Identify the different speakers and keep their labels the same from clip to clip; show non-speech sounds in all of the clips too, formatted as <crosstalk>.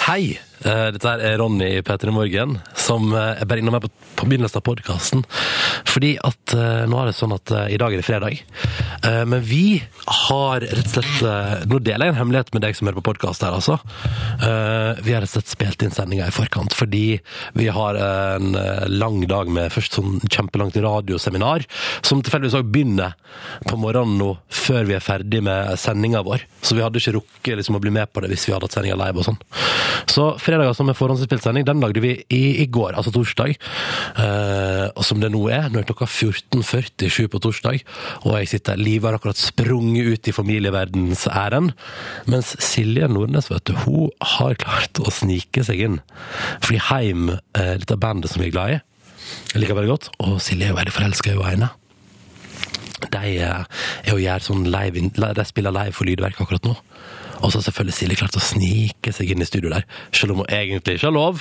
Speaker 1: Hei, eh, dette her er Ronny i P3 Morgen, som eh, er bare innom meg på, på begynnelsen av podkasten. Fordi at eh, nå er det sånn at eh, i dag er det fredag, Eh, men vi har rett og slett eh, Nå deler jeg en hemmelighet med deg som hører på podkast her, altså. Eh, vi har rett og slett spilt inn sendinga i forkant, fordi vi har en eh, lang dag med først sånn kjempelangt radioseminar, som tilfeldigvis også begynner på morgenen nå, før vi er ferdig med sendinga vår. Så vi hadde ikke rukket liksom, å bli med på det hvis vi hadde hatt sendinga live og sånn. Så fredager som er forhåndsinnspilt sending, den lagde vi i, i går, altså torsdag. Eh, og som det nå er, nå er klokka 14.47 på torsdag, og jeg sitter Livet har akkurat sprunget ut i familieverdens ærend, mens Silje Nordnes, vet du, hun har klart å snike seg inn. Fordi Heim, eh, dette bandet som vi er glad i, jeg liker veldig godt, og Silje er jo veldig forelska i hun ene. De eh, er jo gjør sånn live, de spiller live for lydverk akkurat nå. Og så har selvfølgelig Silje klart å snike seg inn i studio der, selv om hun egentlig ikke har lov.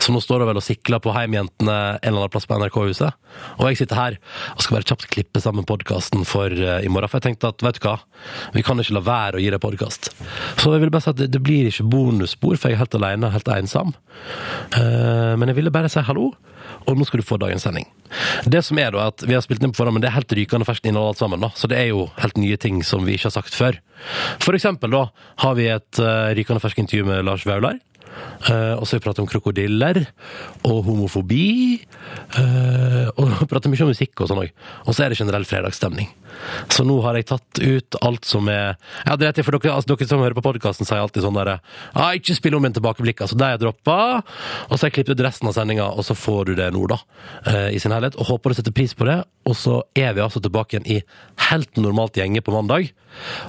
Speaker 1: Så nå står hun vel og sikler på Heimjentene en eller annen plass på NRK-huset. Og jeg sitter her og skal bare kjapt klippe sammen podkasten for eh, i morgen. For jeg tenkte at vet du hva, vi kan ikke la være å gi deg podkast. Så jeg ville bare si at det, det blir ikke bonusspor, for jeg er helt alene og helt ensom. Eh, men jeg ville bare si hallo og nå skal du få dagens sending. Det som er da, er at Vi har spilt inn på forhånd, men det er helt rykende ferskt innhold alt sammen. da, Så det er jo helt nye ting som vi ikke har sagt før. For eksempel da, har vi et eh, rykende ferskt intervju med Lars Vaular. Eh, og så har vi pratet om krokodiller og homofobi. eh, og <laughs> pratet mye om musikk og sånn òg. Og så er det generell fredagsstemning. Så nå har jeg tatt ut alt som er Jeg hadde rett i, for dere, altså, dere som hører på podkasten, sier alltid sånn derre ah, 'Ikke spill om en tilbakeblikk', altså. Det har jeg droppa. Og så har jeg klippet ut resten av sendinga, og så får du det nå, da. eh, I sin helhet. Og håper du setter pris på det. Og så er vi altså tilbake igjen i helt normalt gjenge på mandag.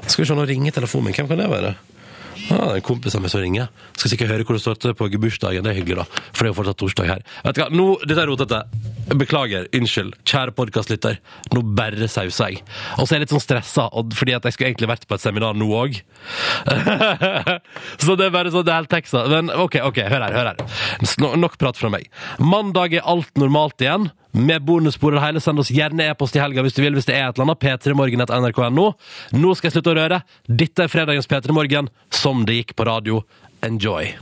Speaker 1: Skal vi se, nå ringer telefonen min. Hvem kan det være? Ah, det er en kompis av meg som ringer. Skal sikkert høre hvor det står til på gebursdagen. Det er hyggelig, da. For det er jo fortsatt torsdag her. Vet du hva, nå, Dette er rotete. Beklager. Unnskyld. Kjære podkastlytter. Nå bare sauser jeg. Og så er jeg litt sånn stressa, og- fordi at jeg skulle egentlig vært på et seminar nå òg. <laughs> så det er bare sånn, det er helt teksta. Men OK, ok, hør her. hør her. Nå- Nok prat fra meg. Mandag er alt normalt igjen med bonusspor og det hele. Send oss gjerne e-post i helga hvis du vil, hvis det er et eller annet. p3morgen.nrk.no. Nå skal jeg slutte å røre. Dette er fredagens P3 Morgen, som det gikk på radio. Enjoy.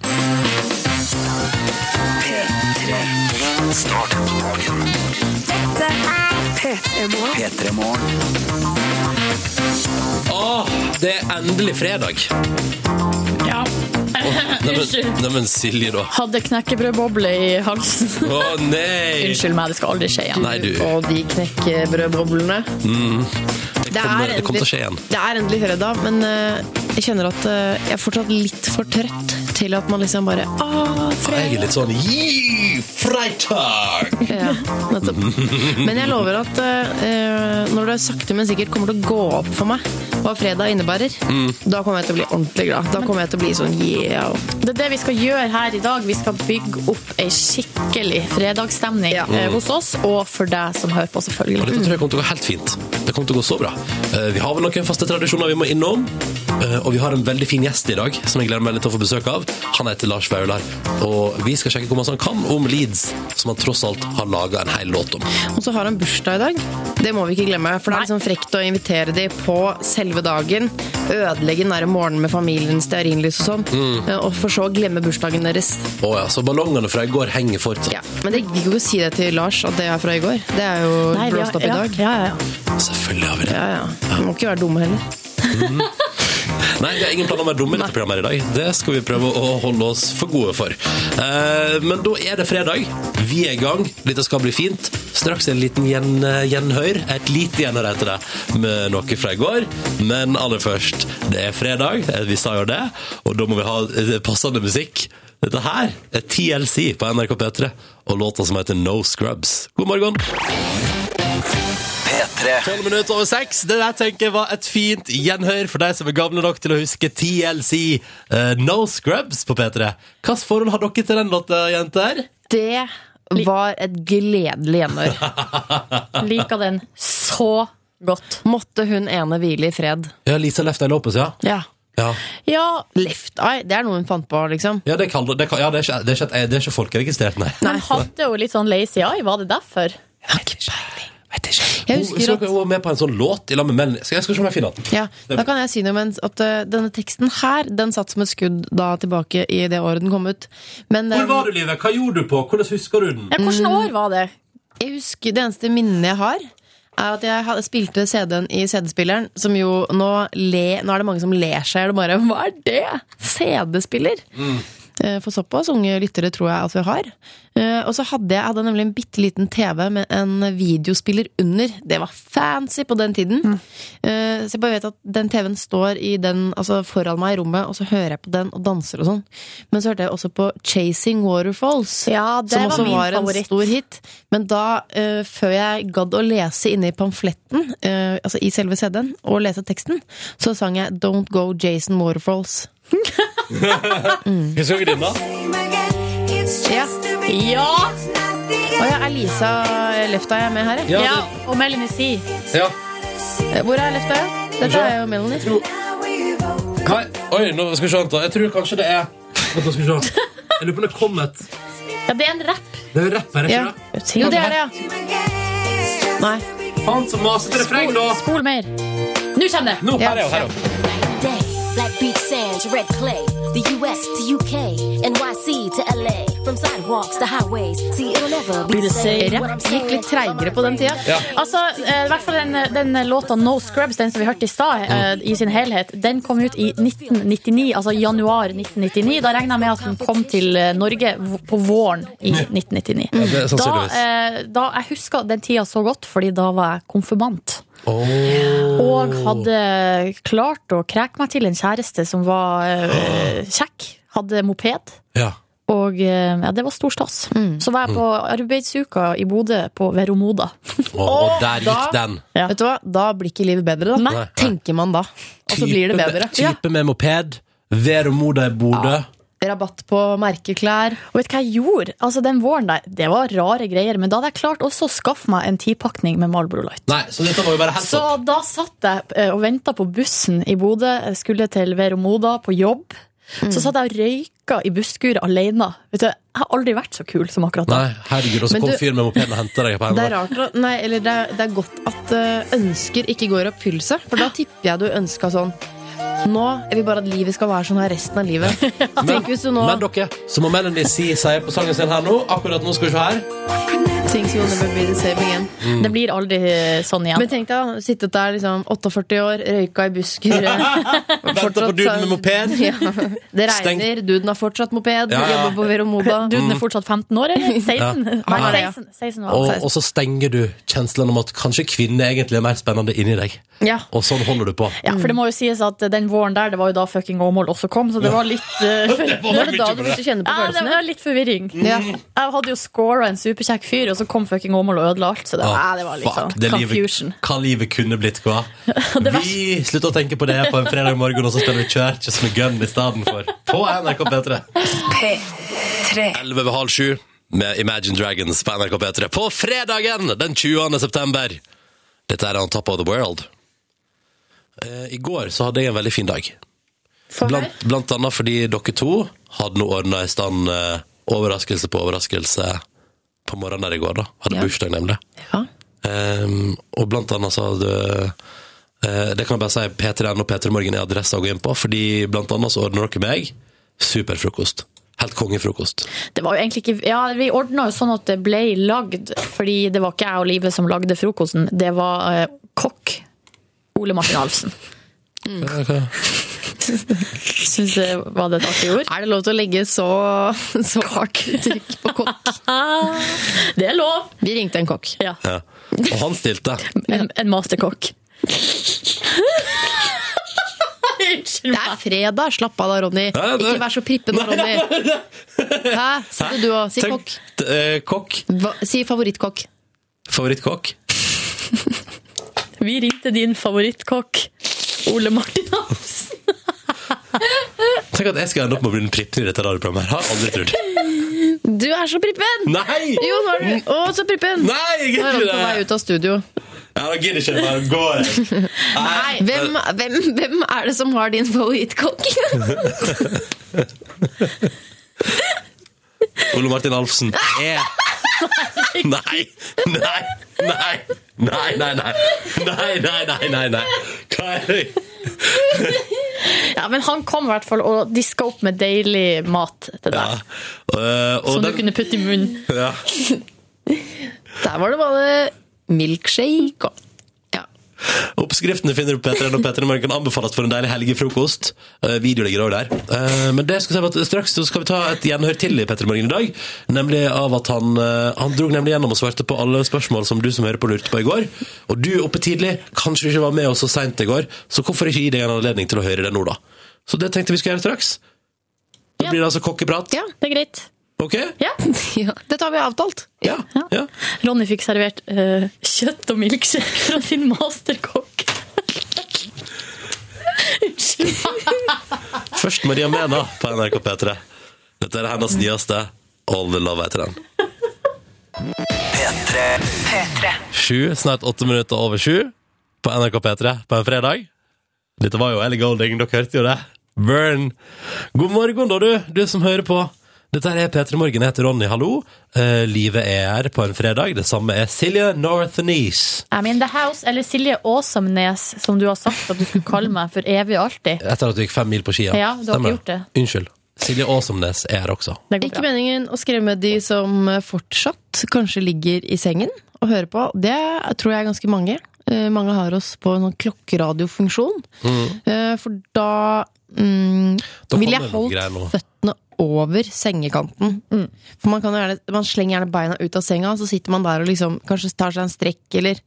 Speaker 1: Åh, det er endelig fredag.
Speaker 2: Ja. Unnskyld.
Speaker 1: Neimen, Silje, da.
Speaker 2: Hadde knekkebrødboble i halsen.
Speaker 1: Å nei!
Speaker 2: Unnskyld meg, det skal aldri skje igjen.
Speaker 1: Nei, du. Mm.
Speaker 3: Og de knekkebrødboblene.
Speaker 1: Det kommer, det kommer til å skje igjen.
Speaker 3: det er endelig fredag, men eh, jeg kjenner at eh, jeg er fortsatt litt for trøtt til at man liksom bare Åh,
Speaker 1: Og jeg er
Speaker 3: fredag!
Speaker 1: litt sånn «Gi, Freitag!
Speaker 3: Ja, nettopp.
Speaker 1: <laughs>
Speaker 3: Men jeg lover at eh, når det sakte, men sikkert kommer til å gå opp for meg hva fredag innebærer,
Speaker 1: Mm.
Speaker 3: da kommer jeg til å bli ordentlig glad. Da kommer jeg til å bli sånn yeah.
Speaker 2: Det er det vi skal gjøre her i dag. Vi skal bygge opp ei skikkelig fredagsstemning
Speaker 3: Ja. Mm.
Speaker 2: eh, hos oss, og for deg som hører på,
Speaker 1: Og
Speaker 2: selvfølgelig.
Speaker 1: dette tror jeg kommer til å gå helt fint. Det kommer til å gå så bra. Eh, Vi har vel noen faste tradisjoner vi må innom. eh, Og vi har en veldig fin gjest i dag, som jeg gleder meg litt til å få besøk av. Han heter Lars Vaular. Og vi skal sjekke hvor mye han kan om Leeds, som han tross alt har laga en hel låt om.
Speaker 3: Og så har han bursdag i dag. Det må vi ikke glemme. For det
Speaker 2: Nei.
Speaker 3: er liksom frekt å invitere de på selve dagen. Ødelegge den der morgenen med familien, stearinlys og sånn.
Speaker 1: Mm.
Speaker 3: eh, Og for så å glemme bursdagen deres.
Speaker 1: Å ja, så ballongene fra i går henger fortsatt.
Speaker 3: Ja. Men det gikk jo ikke å si det til Lars at det er fra i går. Det er jo
Speaker 2: Nei, vi
Speaker 3: blåst
Speaker 2: har-
Speaker 3: opp i
Speaker 2: ja,
Speaker 3: dag.
Speaker 2: Ja, ja, ja.
Speaker 1: Selvfølgelig har vi det.
Speaker 3: Ja, ja. Vi må ikke være dumme heller.
Speaker 1: Nei, vi har ingen planer om å være dumme i dette programmet her i dag. Det skal vi prøve å holde oss for gode for. Eh, Men da er det fredag. Vi er i gang. Dette skal bli fint. Straks en liten gjen, eh, gjenhør. Et lite gjenhør heter det, med noe fra i går. Men aller først, det er fredag. Eh, Vi sa jo det. Og da må vi ha eh, passende musikk. Dette her er TLC på NRK P3 og låta som heter No Scrubs. God morgen. Tolv minutter over seks. Det der tenker jeg var et fint gjenhør for deg som er gamle nok til å huske TLC eh, No Scrubs på P3. Hvilket forhold har dere til den låta, jenter?
Speaker 3: Det var et gledelig gjenhør.
Speaker 1: <laughs>
Speaker 2: Liker den så godt.
Speaker 3: Måtte hun ene hvile i fred.
Speaker 1: Ja, Lisa Left Eye Lopez, ja.
Speaker 3: Ja.
Speaker 1: Ja,
Speaker 2: Ja,
Speaker 3: Left eye, det er noe hun fant på, liksom.
Speaker 1: ja, det, kan, det, kan, ja det, er ikke, det, er ikke, et- det er ikke folkeregistrert, nei.
Speaker 2: men hadde jo litt sånn lazy eye, var det derfor?
Speaker 1: Vet ikke.
Speaker 3: Jeg
Speaker 1: Hun-
Speaker 3: husker
Speaker 1: så
Speaker 3: at-
Speaker 1: Hun var med på en sånn låt i lag med menn. Skal jeg skal se om jeg finner den.
Speaker 3: Ja, da kan jeg si noe mens at eh, denne teksten her, den satt som et skudd da tilbake i det året den kom ut. Men
Speaker 1: Hvor
Speaker 3: den,
Speaker 1: var du, Live? Hva gjorde du på? Hvordan husker du den?
Speaker 2: Ja, Hvilket
Speaker 3: Mm.
Speaker 2: år var det?
Speaker 3: jeg husker det eneste minnet jeg har, er at jeg hadde- spilte CD-en i CD-spilleren, som jo nå le, Nå er det mange som ler seg i hjel og bare Hva er det?! CD-spiller!
Speaker 1: Mm.
Speaker 3: Eh, For såpass unge lyttere tror jeg at vi har. Eh, Og så hadde jeg, jeg hadde nemlig en bitte liten TV med en videospiller under. Det var fancy på den tiden.
Speaker 2: Mm.
Speaker 3: Eh, Så jeg bare vet at den TV-en står i den, altså foran meg i rommet, og så hører jeg på den og danser og sånn. Men så hørte jeg også på Chasing Waterfalls,
Speaker 2: Ja, det
Speaker 3: som
Speaker 2: var
Speaker 3: også
Speaker 2: min
Speaker 3: var en
Speaker 2: favoritt.
Speaker 3: stor hit. Men da, eh, før jeg gadd å lese inne i pamfletten, eh, altså i selve CD-en, og lese teksten, så sang jeg Don't Go Jason Waterfalls.
Speaker 1: Husker dere den, da?
Speaker 3: Ja.
Speaker 2: Ja!
Speaker 3: Og ja, er Lisa eh, Lefteye med her? Ja.
Speaker 1: Ja,
Speaker 2: ja og Melanie C.
Speaker 1: Ja.
Speaker 3: Eh, Hvor er Lefteye? Dette er jo Melanie.
Speaker 1: Nei, oi, nå skal vi se. vent da. Jeg tror kanskje det er Vent, nå skal vi se. Jeg lurer på om det kom et
Speaker 2: Ja, det er en rapp.
Speaker 1: Det er rapper, ikke
Speaker 3: Ja.
Speaker 1: det?
Speaker 3: Jo, det er det, ja. Nei.
Speaker 1: Han som maser til refreng, da.
Speaker 2: Spol mer. Nå kommer det!
Speaker 1: Nå, her er
Speaker 3: Ja.
Speaker 1: hun. Her er hun.
Speaker 4: day. Black beach sands, red clay. The US to UK, NYC to LA. From sidewalks to highways. See, it'll never be the same. What I'm
Speaker 3: Rapp gikk litt treigere på den tida.
Speaker 1: Ja.
Speaker 2: Altså, eh, i hvert fall den, den låta No Scrubs, den som vi hørte i stad, eh,
Speaker 1: Mm.
Speaker 2: i sin helhet, den kom ut i 1999, altså i januar 1999. Da regna jeg med at den kom til eh, Norge v- på våren i 1999.
Speaker 1: Ja, det
Speaker 2: Da,
Speaker 1: er sannsynligvis.
Speaker 2: eh, da jeg husker den tida så godt, fordi da var jeg konfirmant.
Speaker 1: Åh.
Speaker 2: Og hadde klart å kreke meg til en kjæreste som var eh, kjekk. Hadde moped.
Speaker 1: Ja.
Speaker 2: Og eh, ja, det var stor stas.
Speaker 1: Mm.
Speaker 2: Så var jeg på arbeidsuka i Bodø, på Veromoda.
Speaker 1: Og, og der gikk
Speaker 3: da-
Speaker 1: den.
Speaker 2: Ja.
Speaker 3: Vet du hva? Da blir ikke livet bedre, da.
Speaker 2: Nei.
Speaker 1: Nei.
Speaker 3: Tenker man da. Og så blir det
Speaker 1: Type
Speaker 3: bedre.
Speaker 1: med- Type med moped. Vero Moda i Bodø.
Speaker 3: Rabatt på merkeklær.
Speaker 2: Og vet du hva jeg gjorde? Altså Den våren der, det var rare greier. Men da hadde jeg klart også å skaffe meg en tipakning med Marlboro Light.
Speaker 1: Nei, så dette var jo bare helt
Speaker 2: Så
Speaker 1: opp.
Speaker 2: da satt jeg eh, og venta på bussen i Bodø, Jeg skulle til Veromoda på jobb. Så satt jeg og røyka i busskuret alene. Vet du, jeg har aldri vært så kul som akkurat da.
Speaker 1: Nei, herregud, og så
Speaker 3: Men
Speaker 1: kom
Speaker 3: du-
Speaker 1: fyren med mopeden og henta deg på
Speaker 3: Det er
Speaker 1: henda.
Speaker 3: rart å, nei, eller det er, det er godt at eh, ønsker ikke går i oppfyllelse. For da tipper jeg du ønska sånn Nå jeg vil bare at livet skal være sånn her resten av livet. Tenk hvis du nå
Speaker 1: Men dere, så må Melanie si sier på sangen sin her nå. Akkurat nå skal vi se her.
Speaker 3: Things you'll never be the same again.
Speaker 2: Det blir aldri eh, sånn igjen.
Speaker 3: Men tenk deg da, sittet der liksom 48 år, røyka i busker eh,
Speaker 1: Venter på duden med moped.
Speaker 3: <laughs> ja. Det
Speaker 1: Steng-
Speaker 3: regner, duden har fortsatt moped,
Speaker 1: Ja, ja.
Speaker 3: jobber på Veromoba.
Speaker 1: <laughs>
Speaker 2: Duden er fortsatt 15 år, <laughs> eller? 16? Nei,
Speaker 3: Han er det, ja.
Speaker 2: 16, 16 var han.
Speaker 1: Og, og så stenger du kjenslen om at kanskje kvinne egentlig er mer spennende inni deg.
Speaker 3: Ja.
Speaker 1: Og sånn holder du på.
Speaker 2: Ja, for det må jo sies at den våren der, det var jo da fucking Åmål også kom, så det var litt eh, <laughs>
Speaker 1: var
Speaker 3: Nå er det da
Speaker 1: mye
Speaker 3: du
Speaker 1: på det.
Speaker 3: begynte å kjenne på
Speaker 2: Ja, det
Speaker 3: følelsene.
Speaker 2: var litt forvirring.
Speaker 3: Ja.
Speaker 2: Jeg hadde jo scora en superkjekk fyr, og så kom fucking Åmål og ødela alt. Så det, var- ja, det var litt sånn
Speaker 1: Fuck, det
Speaker 2: confusion.
Speaker 1: livet, hva livet kunne blitt,
Speaker 2: <laughs>
Speaker 1: hva? Vi slutter å tenke på det på en fredag morgen, og så spiller vi Churches med Gun i stedet for. På NRK P3. Elleve ved halv sju med Imagine Dragons på NRK P3 på fredagen den 20. september. Dette er On Top of the World. Eh, I går så hadde jeg en veldig fin dag. Blant, blant annet fordi dere to hadde nå ordna i stand eh, overraskelse på overraskelse på morgenen der i går. da Hadde bursdag, nemlig.
Speaker 3: Ja.
Speaker 1: Ehm, og blant annet så hadde eh, Det kan jeg bare si P3N og P3morgen er adressa å gå inn på, fordi blant annet så ordner dere meg superfrokost. Helt kongefrokost.
Speaker 2: Det var jo egentlig ikke Ja, vi ordna jo sånn at det ble lagd, fordi det var ikke jeg og Live som lagde frokosten, det var eh, kokk. Ole Martin Alfsen. Syns det var det et artig ord.
Speaker 3: Er det lov til å legge så, <laughs> så hardt trykk på kokk?
Speaker 2: Det er lov!
Speaker 3: <laughs> Vi ringte en kokk.
Speaker 2: Ja.
Speaker 1: Ja. Og han stilte.
Speaker 2: En, en masterkokk. Unnskyld
Speaker 3: Det
Speaker 2: meg.
Speaker 3: er fredag, slapp av da, Ronny.
Speaker 1: Ja, det-
Speaker 3: Ikke vær så prippen nå, Ronny. Hæ? Si det <laughs> du òg. Si kokk.
Speaker 1: Tenk, eh, kokk.
Speaker 3: Hva, si favorittkokk.
Speaker 1: Favorittkokk.
Speaker 2: Vi ringte din favorittkokk, Ole Martin Alfsen.
Speaker 1: Tenk at jeg skal ende opp med å bli den prippen i dette radioprogrammet. her. Har jeg aldri trodd.
Speaker 3: Du er så prippen!
Speaker 1: Nei!
Speaker 3: Jo, nå er du Å, så prippen!
Speaker 1: Nei, jeg
Speaker 3: Nå er
Speaker 1: gidder
Speaker 3: han på
Speaker 1: ikke
Speaker 3: vei
Speaker 1: det!
Speaker 3: ut av studio.
Speaker 1: Ja, da gidder ikke det. Bare
Speaker 3: <laughs>
Speaker 1: går jeg. Nei.
Speaker 3: Hvem, hvem, hvem er det som har din favorittkokk?
Speaker 1: <laughs> Ole Martin Alfsen er Nei! Nei! Nei! Nei, nei, nei. Nei, nei, nei, nei, nei. Hva er det?
Speaker 2: Ja, men han kom i hvert fall og diska opp med deilig mat til deg.
Speaker 1: Ja. Eh, og
Speaker 2: Som du
Speaker 1: den-
Speaker 2: kunne putte i munnen.
Speaker 1: ja.
Speaker 3: Der var det bare milkshake og ja.
Speaker 1: Oppskriftene finner du på P3 og P3 Morgen kan anbefales for en deilig helgefrokost. Eh, video ligger også der. Eh, men det skal jeg si at straks så skal vi ta et gjenhør til i P3 Morgen i dag. Nemlig av at han, eh, han drog nemlig gjennom og svarte på alle spørsmål som du som hører på lurte på i går. Og du oppe tidlig, kanskje du ikke var med oss så seint i går, så hvorfor ikke gi deg en anledning til å høre det nå, da? Så det tenkte vi skulle gjøre straks. Da blir det altså kokkeprat.
Speaker 3: Ja.
Speaker 2: Det er greit.
Speaker 1: Ok?
Speaker 2: <laughs> Ja.
Speaker 3: ja. Dette har vi avtalt.
Speaker 1: Ja. ja.
Speaker 2: Ronny fikk servert eh, kjøtt og milkshake fra sin masterkokk.
Speaker 1: Først Maria Mena på NRK P3. Dette er hennes nyeste. All the love heter den. Sju, snart åtte minutter over sju på NRK P3 på en fredag. Dette var jo Ellie Golding, dere hørte jo det. Burn! God morgen, da, du, du som hører på. Dette her er P3 Morgen, jeg heter Ronny, hallo. Eh, livet er her på en fredag. Det samme er Silje Northnese.
Speaker 2: I'm in the house, eller Silje Åsamnes, som du har sagt at du skulle kalle meg for evig og alltid.
Speaker 1: Etter at du gikk fem mil på skia.
Speaker 2: Ja, du har ikke gjort det.
Speaker 1: Unnskyld. Silje Åsomnes er her også.
Speaker 2: Det går
Speaker 3: Ikke
Speaker 2: bra.
Speaker 3: meningen å skremme de som fortsatt kanskje ligger i sengen og hører på. Det tror jeg er ganske mange. Eh, Mange har oss på en sånn klokkeradiofunksjon. Eh, For da mm,
Speaker 1: Da
Speaker 3: ville jeg
Speaker 1: kommer det noen greier nå.
Speaker 3: holdt føttene over sengekanten.
Speaker 2: Mm.
Speaker 3: For man, kan jo gjerne, man slenger gjerne beina ut av senga, så sitter man der og liksom kanskje tar seg en strekk, eller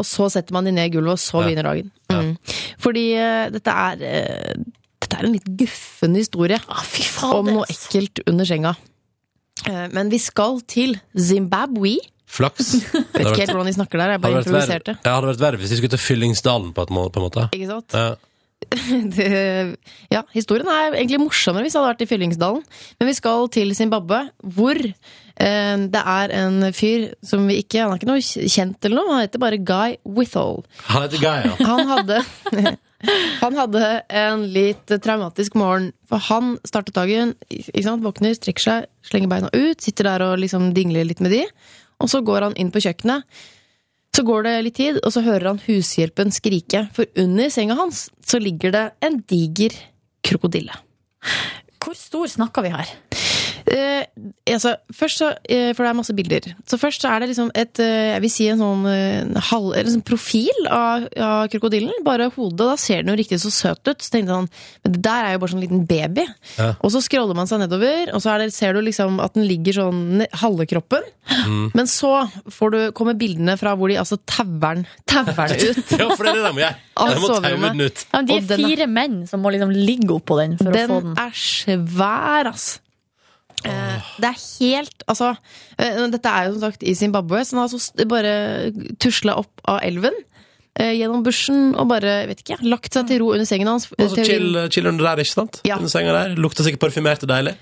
Speaker 3: Og så setter man de ned i gulvet, og så begynner dagen. Mm. Fordi eh, dette er eh, Dette er en litt guffen historie
Speaker 2: Ah, fy
Speaker 3: om
Speaker 2: faen,
Speaker 3: noe
Speaker 2: det.
Speaker 3: ekkelt under senga. Eh, Men vi skal til Zimbabwe.
Speaker 2: <laughs>
Speaker 1: Flaks.
Speaker 3: Jeg vet
Speaker 1: vært-
Speaker 3: ikke helt hvordan de snakker der. Jeg
Speaker 1: Hadde
Speaker 3: bare
Speaker 1: vært verre-
Speaker 3: improviserte.
Speaker 1: Ja, hadde vært verre hvis de skulle til Fyllingsdalen på, et må- på en måte.
Speaker 3: Ikke sant?
Speaker 1: Ja.
Speaker 3: <laughs> Det, ja, historien er egentlig morsommere hvis det hadde vært i Fyllingsdalen. Men vi skal til Zimbabwe, hvor eh, det er en fyr som vi ikke Han er ikke noe kjent eller noe, han heter bare Guy Withall.
Speaker 1: Han heter Guy,
Speaker 2: <laughs>
Speaker 1: ja.
Speaker 3: Han hadde, <laughs> han hadde en litt traumatisk morgen, for han startet dagen, ikke sant, våkner, strekker seg, slenger beina ut, sitter der og liksom dingler litt med de, og så går han inn på kjøkkenet. Så går det litt tid, og så hører han hushjelpen skrike, for under senga hans så ligger det en diger krokodille.
Speaker 2: Hvor stor snakker vi her?
Speaker 3: Eh, altså, først så, eh, for det er masse bilder. Så først så er det liksom et eh, Jeg vil si en sånn eh, en halv, eller sånn profil av, av krokodillen. Bare hodet. Da ser den jo riktig så søt ut. Så tenkte han, men det der er jo bare sånn liten baby.
Speaker 1: Ja.
Speaker 3: Og så scroller man seg nedover, og så er det, ser du liksom at den ligger sånn ne- halve kroppen. Men så får du, kommer bildene fra hvor de altså tauer den- tauer den ut.
Speaker 1: ja, for det er det de må gjøre.
Speaker 3: Av
Speaker 1: De må taue
Speaker 3: soverommet.
Speaker 1: den ut.
Speaker 2: Ja, men de
Speaker 3: Og
Speaker 2: er
Speaker 3: den er-
Speaker 2: fire menn som må liksom ligge oppå den for å få
Speaker 3: Den
Speaker 2: den.
Speaker 3: er svær, ass. Eh, Det er helt Altså, eh, dette er jo som sagt i Zimbabwe, så den har altså s- bare tusla opp av elven. eh, Gjennom bushen og bare vet ikke, lagt seg til ro under sengen hans.
Speaker 1: Og så
Speaker 3: Teorien-
Speaker 1: chill, chill under der, ikke sant?
Speaker 3: Ja.
Speaker 1: Under senga der. Lukter sikkert parfymert og deilig.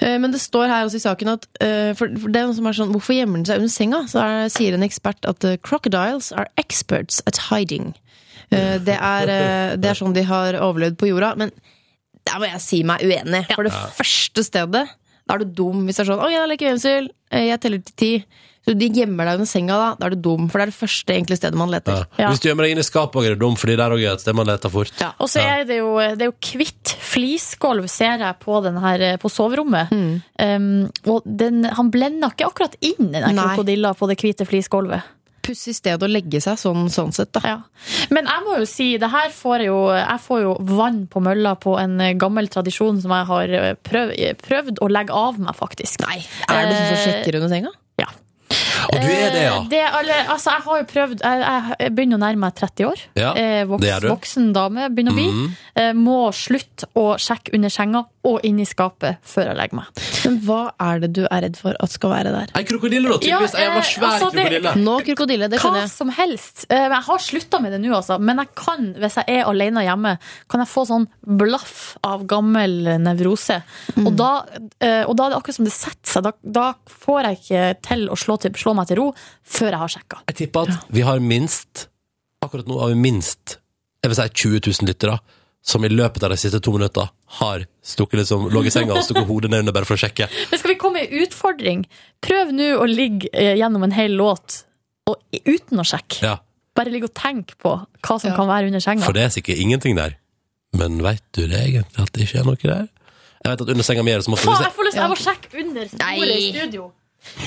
Speaker 3: Eh, Men det står her også i saken at eh, for, for det som er sånn, Hvorfor gjemmer den seg under senga? Så er, sier en ekspert at eh, crocodiles are experts at hiding. Eh, det, er, eh, det er sånn de har overlevd på jorda. Men der må jeg si meg uenig. For det første stedet Da er du dum hvis det er sånn 'Å, jeg leker gjemsel. Eh, Jeg teller til ti.' Så de gjemmer deg under senga, da. Da er du dum. For det er det første egentlig stedet man leter.
Speaker 2: Ja.
Speaker 1: Hvis du gjemmer deg inn i skapet, er det dum, fordi der òg er et sted man leter fort.
Speaker 3: Ja.
Speaker 2: Og så er det jo, det er jo kvitt flisgolv, ser jeg, på, den her, på soverommet.
Speaker 3: Mm.
Speaker 2: Um, og den, han blender ikke akkurat inn den der
Speaker 3: Nei.
Speaker 2: krokodilla på det hvite flisgolvet.
Speaker 3: Pussig sted å legge seg sånn, sånn sett, da.
Speaker 2: Ja. Men jeg må jo si, det her får jeg jo, jeg får jo vann på mølla på en eh, gammel tradisjon som jeg har eh, prøv, eh, prøvd å legge av meg, faktisk. Eh, Nei,
Speaker 3: Er det sånn som sjekker under senga?
Speaker 2: Ja.
Speaker 1: Og du er det, ja.
Speaker 2: Det er alle, altså, jeg har jo prøvd jeg, jeg begynner å nærme meg 30 år.
Speaker 1: Ja,
Speaker 2: Eh, voks,
Speaker 1: det er du. Mm.
Speaker 2: Voksen dame begynner å bli. Eh, Må slutte å sjekke under senga og inn i skapet før jeg legger meg.
Speaker 3: Men hva er det du er redd for at skal være der?
Speaker 1: Ei krokodille, da. Tydeligvis
Speaker 2: Ja,
Speaker 1: ei jævla
Speaker 2: eh,
Speaker 1: svær
Speaker 2: altså, det-
Speaker 1: krokodille.
Speaker 3: Nå krokodille, det skjønner
Speaker 2: Hva
Speaker 3: jeg.
Speaker 2: som helst. Eh, men Jeg har slutta med det nå, altså. Men jeg kan, hvis jeg er alene hjemme, kan jeg få sånn blaff av gammel nevrose. Og,
Speaker 1: Mm.
Speaker 2: da, eh, og da er det akkurat som det setter seg. Da, da får jeg ikke til å slå, til, slå meg til ro før jeg har sjekka.
Speaker 1: Jeg tipper at vi har minst Akkurat nå har vi minst Jeg vil si 20 000 lyttere som i løpet av de siste to minutter har stukket liksom, lå i senga og stukket hodet ned under bare for å sjekke.
Speaker 2: Men skal vi komme med en utfordring? Prøv nå å ligge eh, gjennom en hel låt og, uten å sjekke.
Speaker 1: Ja.
Speaker 2: bare ligge og tenke på hva som
Speaker 3: Ja.
Speaker 2: kan være under senga.
Speaker 1: For det er sikkert ingenting der. Men veit du det egentlig, at det ikke er noe der? Jeg vet at under senga mi er det som ofte
Speaker 2: Faen,
Speaker 1: hvis
Speaker 2: jeg får lyst til
Speaker 3: Ja.
Speaker 2: jeg må sjekke under bordet i studio.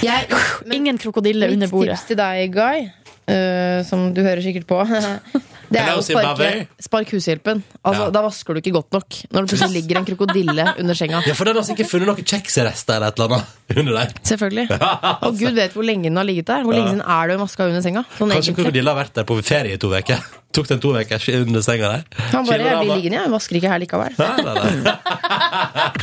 Speaker 3: Jeg, men
Speaker 2: Ingen krokodille under
Speaker 3: mitt
Speaker 2: bordet.
Speaker 3: tips til deg, Guy, eh, som du hører sikkert på <laughs> Det er
Speaker 1: Hello,
Speaker 3: jo å sparke,
Speaker 1: Zimbabwe.
Speaker 3: spark hushjelpen. Altså,
Speaker 1: Ja.
Speaker 3: Da vasker du ikke godt nok når det
Speaker 1: <laughs>
Speaker 3: plutselig ligger en krokodille under senga.
Speaker 1: Ja, for den har sikkert funnet noen kjeksrester eller et eller annet <laughs> under der. <laughs>
Speaker 3: Selvfølgelig. Og gud vet hvor lenge den har ligget der. Hvor lenge siden er det vaska under senga? Sånn
Speaker 1: Kanskje
Speaker 3: egentlig.
Speaker 1: krokodilla har vært der på ferie i to uker. Tok den to uker under senga der.
Speaker 3: Han bare jeg blir
Speaker 1: Chilerama.
Speaker 3: liggende, jeg vasker ikke her likevel.
Speaker 1: Nei, nei, nei.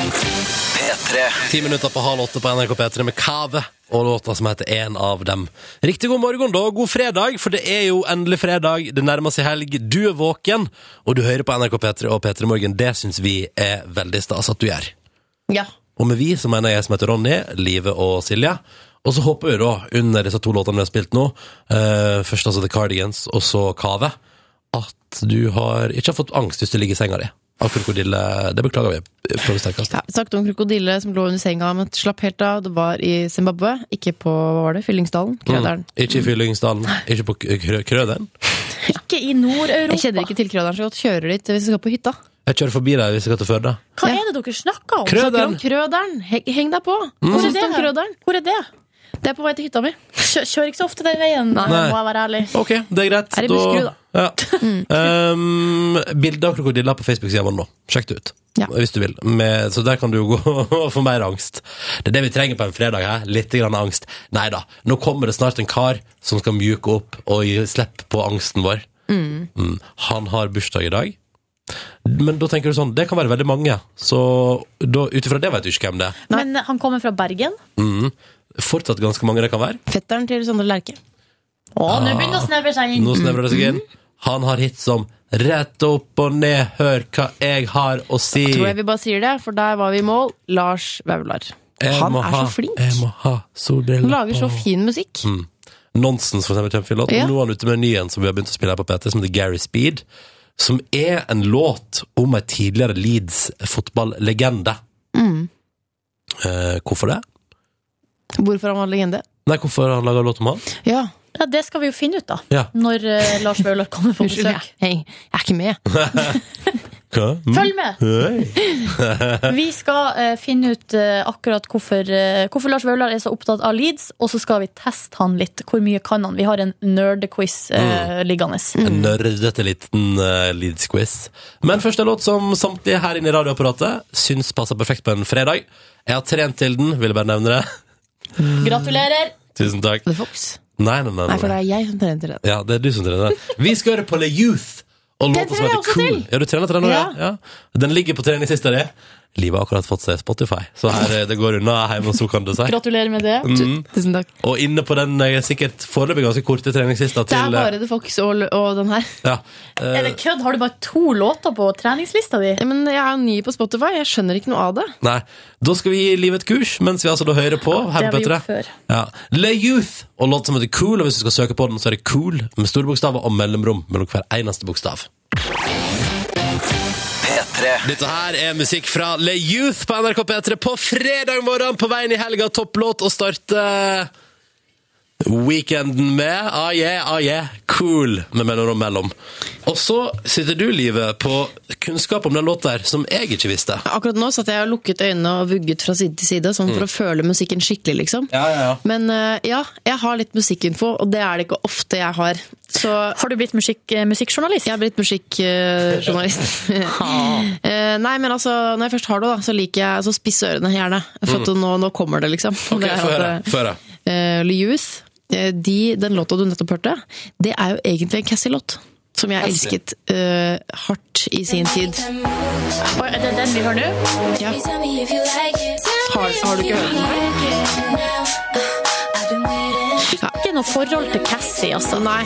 Speaker 5: P3
Speaker 1: Ti minutter på halv åtte på NRK P3 med Kave og låta som heter En av dem. Riktig god morgen, da. God fredag, for det er jo endelig fredag. Det nærmer seg helg. Du er våken, og du hører på NRK P3 og P3 Morgen. Det syns vi er veldig stas at du gjør.
Speaker 3: Ja.
Speaker 1: Og med vi så mener jeg som heter Ronny, Live og Silje. Og så håper vi da, under disse to låtene vi har spilt nå, eh, først altså The Cardigans og så Kave, at du har ikke har fått angst hvis du ligger i senga di. Av krokodille. Det beklager vi på det sterkeste.
Speaker 3: Ja, vi snakket om krokodille som lå under senga, men slapp helt av. Det var i Zimbabwe, ikke på hva var det, Fyllingsdalen.
Speaker 1: Mm.
Speaker 3: Krøderen.
Speaker 1: Ikke i Fyllingsdalen, ikke på K- Krø Krøderen.
Speaker 2: Ikke i
Speaker 3: Jeg kjenner
Speaker 2: Nord-Europa.
Speaker 3: ikke til Krøderen så godt. Kjører dit hvis jeg skal på hytta.
Speaker 1: Jeg kjører forbi deg hvis jeg skal til Førde.
Speaker 2: Hva er det dere snakker om?
Speaker 3: Snakker om
Speaker 1: Krøderen! Mm.
Speaker 3: Krøderen! Heng, heng deg på! Hva
Speaker 2: Hvor er
Speaker 3: syns du om
Speaker 2: det?
Speaker 3: Krøderen?
Speaker 2: Hvor er det?
Speaker 3: Det er på vei til hytta mi.
Speaker 2: Kjø kjører ikke så ofte den veien,
Speaker 1: Nei.
Speaker 2: må jeg være ærlig.
Speaker 1: Ok, det er greit.
Speaker 3: Er det Buskerud,
Speaker 1: da? Ja. Um, bilder av krokodiller på Facebook-sida vår nå. Sjekk det ut.
Speaker 3: Ja.
Speaker 1: Hvis du vil. Med, så der kan du jo gå <laughs> og få mer angst. Det er det vi trenger på en fredag. Her. Litt grann angst. Nei da, nå kommer det snart en kar som skal mjuke opp og gi slipp på angsten vår. Mm. Han har bursdag i dag. Men da tenker du sånn, det kan være veldig mange. Så ut ifra det vet du ikke hvem det er.
Speaker 2: Men eh, han kommer fra Bergen.
Speaker 1: Fortsatt ganske mange det kan være.
Speaker 3: Fetteren til Sondre Lerche.
Speaker 2: Å,
Speaker 1: Ah.
Speaker 2: nå begynner det å snevre seg inn.
Speaker 1: Nå snevrer det seg inn.
Speaker 3: Mhm.
Speaker 1: Han har hits som Rett opp og ned, hør hva jeg har å si.
Speaker 3: Tror jeg vi bare sier det, for der var vi i mål. Lars Vaular.
Speaker 1: Jeg
Speaker 3: Han
Speaker 1: må
Speaker 3: er
Speaker 1: ha-
Speaker 3: så flink.
Speaker 1: Jeg må ha Mm.
Speaker 3: Han
Speaker 1: solbriller
Speaker 3: lager så fin musikk.
Speaker 1: Nonsens, for eksempel, kjempefin låt.
Speaker 3: Ja.
Speaker 1: Nå er han ute med en ny en som vi har begynt å spille her på PT, som heter Gary Speed. Som er en låt om ei tidligere Leeds-fotballegende.
Speaker 2: Mm.
Speaker 1: Eh, hvorfor det?
Speaker 3: Hvorfor han var legende.
Speaker 1: Nei, hvorfor har han laga låt om han?
Speaker 3: Ja.
Speaker 2: Ja, det skal vi jo finne ut, da.
Speaker 1: Ja.
Speaker 2: Når eh, Lars Vaular kommer på
Speaker 3: Unnskyld,
Speaker 2: besøk.
Speaker 3: jeg, hei, jeg er ikke med.
Speaker 1: Hva? Mm.
Speaker 2: Følg med!
Speaker 1: Hei.
Speaker 2: Vi skal eh, finne ut eh, akkurat hvorfor, eh, hvorfor Lars Vaular er så opptatt av Leeds, og så skal vi teste han litt. Hvor mye kan han? Vi har en nerdequiz eh, liggende.
Speaker 3: Mm.
Speaker 1: En nerdete liten uh, Leeds-quiz. Men først en låt som samtlige her inne i radioapparatet syns passer perfekt på en fredag. Jeg har trent til den, ville bare nevne det. <laughs> Mm.
Speaker 2: Gratulerer!
Speaker 1: Tusen takk.
Speaker 3: The Fox.
Speaker 1: Nei, nei, nei.
Speaker 3: Nei,
Speaker 1: nei,
Speaker 3: for det er jeg som trener til det.
Speaker 1: Ja, det er du som trener den. Vi skal høre på Le Youth. Og låta som
Speaker 3: trener jeg
Speaker 1: heter
Speaker 3: også
Speaker 1: Cool. Ja, du trener trener, ja.
Speaker 3: Ja.
Speaker 1: ja. Den ligger på treningslista di. Livet har akkurat fått seg Spotify, så her eh, det går unna hjemme, så kan det seg.
Speaker 2: Gratulerer med det.
Speaker 1: Mm.
Speaker 3: Tusen takk.
Speaker 1: Og inne på den eh, sikkert foreløpig ganske korte treningslista
Speaker 3: Det er
Speaker 1: til eh,
Speaker 3: bare The Fox og, og den her.
Speaker 1: ja, eh,
Speaker 2: Er det kødd? Har du bare to låter på treningslista di?
Speaker 3: Ja, Men jeg er jo ny på Spotify, jeg skjønner ikke noe av det.
Speaker 1: Nei, da skal vi gi livet et kurs Mens vi altså da hører på her
Speaker 2: det har vi
Speaker 1: på P3
Speaker 2: gjort før.
Speaker 1: ja. Le Youth og låt som heter Cool Og hvis du skal søke på den så er det Cool Med store bokstaver og mellomrom Mellom hver eneste bokstav
Speaker 5: P3
Speaker 1: Dette her er musikk fra Le Youth på NRK P3 På fredag morgen på veien i helga Topplåt og starte Weekenden med Ah yeah, ah yeah, cool Med mellomrom mellom Og så sitter du, Livet, på kunnskap om den låten der Som jeg ikke visste
Speaker 3: Akkurat nå satt jeg og lukket øynene og vugget fra side til side, sånn for å føle musikken skikkelig, liksom.
Speaker 1: Mm. Ja, ja, ja
Speaker 3: Men eh, ja, jeg har litt musikkinfo, og det er det ikke ofte jeg har. Så
Speaker 2: Har du blitt musikk, eh, musikkjournalist?
Speaker 3: jeg er blitt
Speaker 1: <laughs>
Speaker 3: musikkjournalist. nei, men altså, når jeg først har det, da, så liker jeg altså, spisse ørene gjerne. For at nå, nå kommer det, liksom.
Speaker 1: Mm. Ok,
Speaker 3: Det er
Speaker 1: få
Speaker 3: at,
Speaker 1: høre,
Speaker 3: eh,
Speaker 1: få høre
Speaker 3: Eh, Le Youth, eh, de, den låta du nettopp hørte, det er jo egentlig en Cassie-låt. Som jeg elsket eh, hardt i sin tid.
Speaker 2: Oi, Er det den vi hører nå?
Speaker 3: Ja.
Speaker 4: Tell me if you like it.
Speaker 3: Har, har du ikke hørt den?
Speaker 4: I've been waiting.
Speaker 2: Ikke noe forhold til Cassie, altså.
Speaker 3: Nei.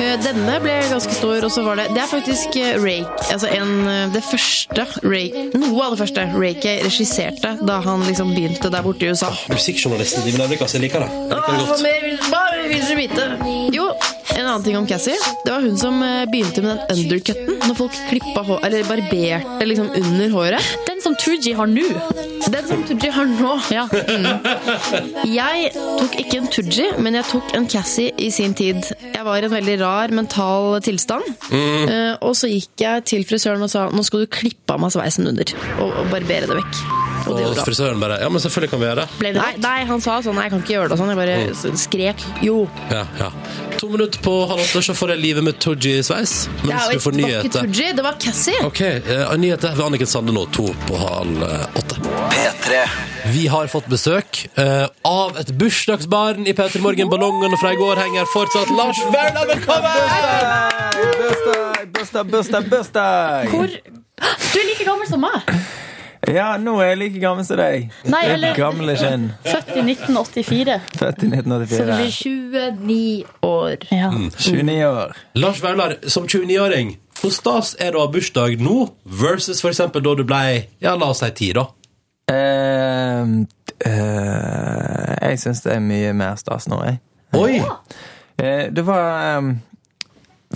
Speaker 3: Eh, Denne ble ganske stor, og så var det Det er faktisk eh, Rake Altså en, eh, det første Rake Noe av det første Rake regisserte da han liksom begynte der borte i USA.
Speaker 1: Musikkjournalisten Liven Elvik, altså, jeg liker det. Jeg liker det
Speaker 3: Hva
Speaker 1: godt.
Speaker 3: mer vil- hva mer vil dere vite? Jo, En annen ting om Cassie. Det var hun som eh, begynte med den undercutten. Når folk klippa hår, eller barberte liksom under håret.
Speaker 2: Den som Tooji har nå.
Speaker 3: Den som Tooji har nå. Mm.
Speaker 2: Ja.
Speaker 3: Jeg tok ikke en Tooji, men jeg tok en Cassie i sin tid. Jeg var i en veldig rar mental tilstand.
Speaker 1: Mm.
Speaker 3: Eh, Og så gikk jeg til frisøren og sa nå skal du klippe av meg sveisen under. Og, og barbere det vekk. Og
Speaker 1: Og
Speaker 3: det gjorde han.
Speaker 1: frisøren bare Ja, men selvfølgelig kan vi gjøre det.
Speaker 2: Ble det
Speaker 3: Nei, nei, han sa sånn, nei, jeg kan ikke gjøre det og sånn. Jeg bare s- skrek jo.
Speaker 1: Ja, ja. To minutter på halv åtte, så får jeg livet med Tooji i sveis.
Speaker 3: Ja,
Speaker 1: Mens
Speaker 3: og
Speaker 1: du får
Speaker 3: det var ikke
Speaker 1: nyheter.
Speaker 3: Tooji, det var Cassie.
Speaker 1: Ok, eh, nyheter ved Anniken Sande nå, to på halv eh, åtte.
Speaker 5: P3
Speaker 1: Vi har fått besøk eh, av et bursdagsbarn i Peter Morgen. Ballongene fra i går henger fortsatt. Lars Vaular, velkommen!
Speaker 6: Bursdag, bursdag, bursdag, bursdag!
Speaker 2: Hvor <gasps> Du er like gammel som meg!
Speaker 6: Ja, nå er jeg like gammel som deg.
Speaker 2: Nei, eller-
Speaker 6: Gamle kjenn.
Speaker 2: Født i 1984.
Speaker 6: Født i
Speaker 2: Så du
Speaker 6: 1984.
Speaker 2: blir
Speaker 3: 29 år.
Speaker 2: ja.
Speaker 6: 29 år.
Speaker 1: Lars Vaular, som 29-åring, hvor stas er det å ha bursdag nå versus for eksempel da du ble ja, la oss si ti, da?
Speaker 6: Ehm, eh, jeg syns det er mye mer stas nå, jeg.
Speaker 1: Oi!
Speaker 6: Eh, det var ehm,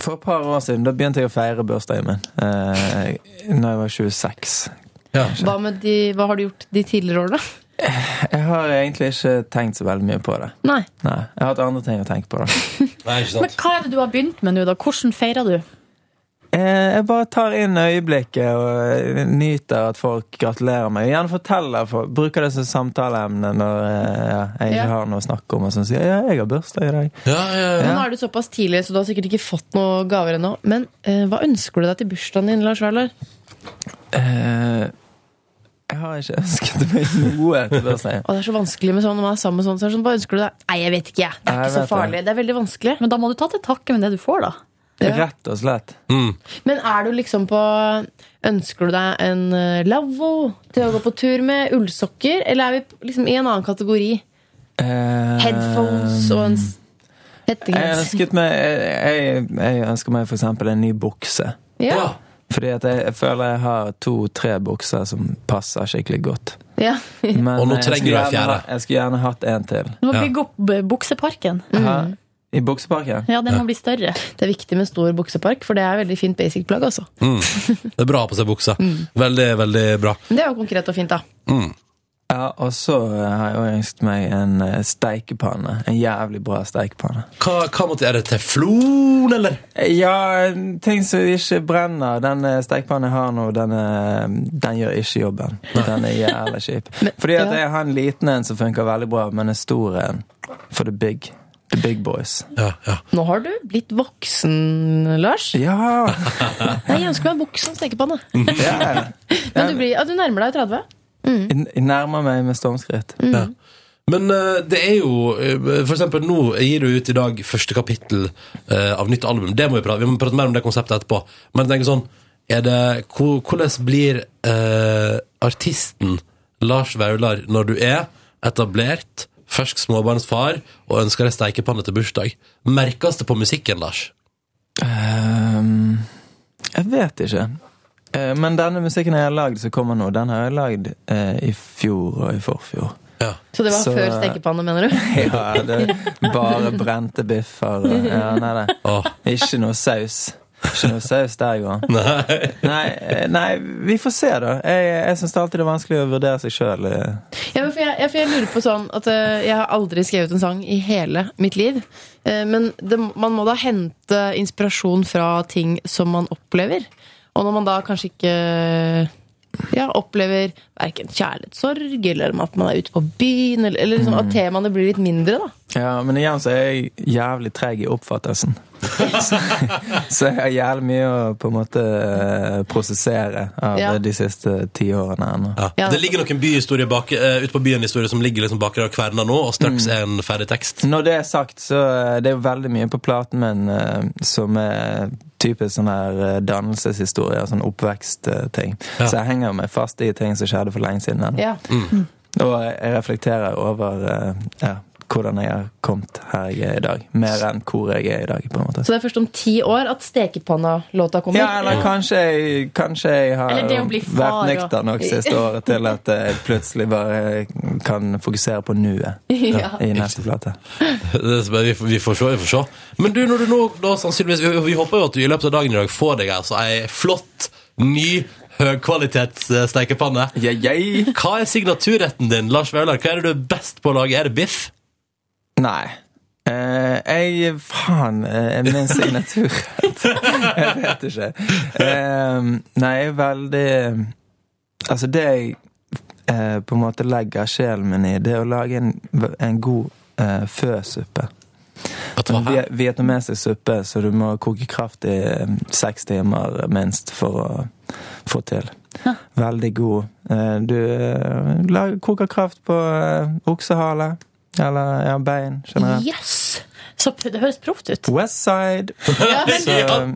Speaker 6: For et par år siden da begynte jeg å feire bursdagen min. Uh, når jeg var 26.
Speaker 1: Ja.
Speaker 3: Hva, med de, hva har du gjort de tidligere årene?
Speaker 6: Jeg har egentlig ikke tenkt så veldig mye på det.
Speaker 3: Nei.
Speaker 6: Nei, Jeg har hatt andre ting å tenke på. da
Speaker 1: Nei, ikke
Speaker 2: Men
Speaker 1: sant?
Speaker 2: hva er det du har begynt med nå, da? Hvordan feirer du?
Speaker 6: Eh, Jeg bare tar inn øyeblikket og eh, nyter at folk gratulerer meg. Gjerne forteller folk, bruker det som samtaleemne når eh, ja, jeg ikke
Speaker 3: Ja.
Speaker 6: har noe å snakke om. Og sånn sier jeg, ja, jeg har bursdag i dag.
Speaker 1: Ja, ja, ja.
Speaker 3: Men Nå er du såpass tidlig, så du har sikkert ikke fått noen gaver ennå. Men eh, hva ønsker du deg til bursdagen din, Lars Vaular?
Speaker 6: Eh, Jeg har ikke ønsket meg noe til
Speaker 3: <laughs>
Speaker 6: bursdagen.
Speaker 3: Og det er så vanskelig med sånn, når man er sammen med sånn, så er det sånn, hva ønsker du deg? Nei, jeg vet ikke, jeg. Det er
Speaker 6: Nei, jeg
Speaker 3: ikke så
Speaker 6: vet det.
Speaker 3: farlig. Det er veldig vanskelig.
Speaker 2: Men da må du ta til takke med det du får, da.
Speaker 6: Rett og slett.
Speaker 3: Men er du liksom på Ønsker du deg en eh, lavvo til å gå på tur med ullsokker, eller er vi liksom i en annen kategori?
Speaker 6: Eh,
Speaker 3: Headphones og en s-
Speaker 6: Jeg
Speaker 3: hettegenser.
Speaker 6: ønsket meg, jeg, jeg, jeg ønsker meg for eksempel en ny bukse.
Speaker 3: Ja.
Speaker 1: Ja.
Speaker 6: Fordi at jeg, jeg føler jeg har to-tre bukser som passer skikkelig godt.
Speaker 3: ja. <laughs>
Speaker 6: Men
Speaker 1: Og nå
Speaker 6: jeg skulle
Speaker 1: trenger du en
Speaker 6: gjerne ha-
Speaker 1: fjerde.
Speaker 6: Jeg skulle gjerne hatt en til.
Speaker 2: Du må
Speaker 1: Ja.
Speaker 2: bygge opp eh, bukseparken.
Speaker 3: Mm.
Speaker 6: Her, I bukseparken?
Speaker 2: Ja, den må bli større.
Speaker 3: Det er viktig med stor buksepark, for det er veldig fint basic-plagg, altså.
Speaker 1: Det er bra å ha på seg buksa. Veldig, veldig bra.
Speaker 3: Men det er jo konkret og fint, da.
Speaker 6: Ja, og så eh, har jeg også ønsket meg en eh, steikepanne. En jævlig bra steikepanne.
Speaker 1: Hva, hva måtte Er det teflon, eller?
Speaker 6: Eh, Ja, ting som ikke brenner. Den eh, steikepannen jeg har nå, den, eh, den gjør ikke jobben. Den er jævlig kjip. Fordi at
Speaker 3: ja.
Speaker 6: jeg har en liten en som funker veldig bra, men en stor en for the big. The big boys.
Speaker 1: Ja, ja.
Speaker 3: Nå har du blitt voksen, Lars.
Speaker 6: Ja!
Speaker 3: Nei, jeg ønsker meg en bukse og en stekepanne.
Speaker 6: ja.
Speaker 3: Men du, blir, ja, du nærmer deg 30.
Speaker 6: Jeg jeg nærmer meg med stormskritt.
Speaker 1: Ja. Men eh, det er jo eh, For eksempel nå gir du ut i dag første kapittel eh, av nytt album. Det må vi prate Vi må prate mer om det konseptet etterpå. Men jeg tenker sånn er det, hvor- Hvordan blir eh, artisten Lars Vaular når du er etablert, fersk småbarnsfar og ønsker deg steikepanne til bursdag? Merkes det på musikken, Lars?
Speaker 6: Ehm, jeg vet ikke. Eh, Men denne musikken jeg har lagd som kommer nå, den har jeg lagd eh, i fjor og i forfjor.
Speaker 1: Ja.
Speaker 3: Så det var
Speaker 6: Så-
Speaker 3: før stekepanne, mener du?
Speaker 6: Ja, det bare brente biffer. og- Ja, nei, det.
Speaker 1: Åh.
Speaker 6: Ikke noe saus. Ikke noe saus der går.
Speaker 1: Nei.
Speaker 6: Nei, eh, nei, vi får se, da. Jeg, jeg syns alltid det er vanskelig å vurdere seg eh. sjøl.
Speaker 3: Ja, men for jeg, ja, for jeg lurer på sånn at eh, jeg har aldri skrevet en sang i hele mitt liv. Eh, men det, man må da hente inspirasjon fra ting som man opplever. Og når man da kanskje ikke ja, opplever verken kjærlighetssorg eller at man er ute på byen, eller, eller liksom, at temaene blir litt mindre, da.
Speaker 6: Ja, men igjen så er jeg jævlig treg i oppfattelsen. Så, så jeg har jævlig mye å på en måte eh, prosessere av
Speaker 3: Ja.
Speaker 6: de siste ti årene her nå.
Speaker 1: Ja.
Speaker 3: Ja.
Speaker 1: Det ligger noen byhistorie bak, eh, ute på byen-historie som ligger liksom bak der og kverner nå, og straks er en ferdig tekst. <laughs>
Speaker 6: Når det er sagt, så eh, det er jo veldig mye på platen min eh, som er typisk sånn her eh, dannelseshistorie og sånn oppvekstting.
Speaker 1: Ja.
Speaker 6: Så jeg henger meg Mm. fast i ting som skjedde for lenge siden. ennå.
Speaker 3: Ja.
Speaker 6: Og jeg reflekterer over eh, ja, hvordan jeg har kommet her jeg er i dag. Mer enn hvor jeg er i dag, på en måte.
Speaker 3: Så det er først om ti år at Stekepanna-låta kommer?
Speaker 6: Ja, eller kanskje jeg, kanskje jeg har
Speaker 2: Eller det å bli far,
Speaker 6: vært nykter nok siste året til at jeg plutselig bare kan fokusere på nuet
Speaker 2: <laughs>
Speaker 3: Ja.
Speaker 6: i neste plate.
Speaker 1: Det som er- vi, får- vi får se, vi får se. Men du, når du nå da, sannsynligvis vi, vi håper jo at du i løpet av dagen i dag får deg altså ei flott, ny, høykvalitets eh, stekepanne.
Speaker 6: Yeah, yeah.
Speaker 1: Hva er signaturretten din, Lars Vaular? Hva er det du er best på å lage? Er det biff?
Speaker 6: Nei. Eh, jeg Faen, eh, min signatur <laughs> Jeg vet ikke. Eh, nei, jeg er veldig Altså, det jeg eh, på en måte legger sjelen min i, det er å lage en, en god eh, føsuppe.
Speaker 1: Vet du hva?
Speaker 6: Vi- Vietnamesisk suppe, så du må koke kraft i eh, seks timer minst for å få til. Veldig god. Eh, Du eh, lag- koker kraft på eh, oksehale, eller ja, bein generelt.
Speaker 2: Yes! Så p- det høres proft ut.
Speaker 1: <laughs>
Speaker 6: Westside. Så,
Speaker 1: Ja,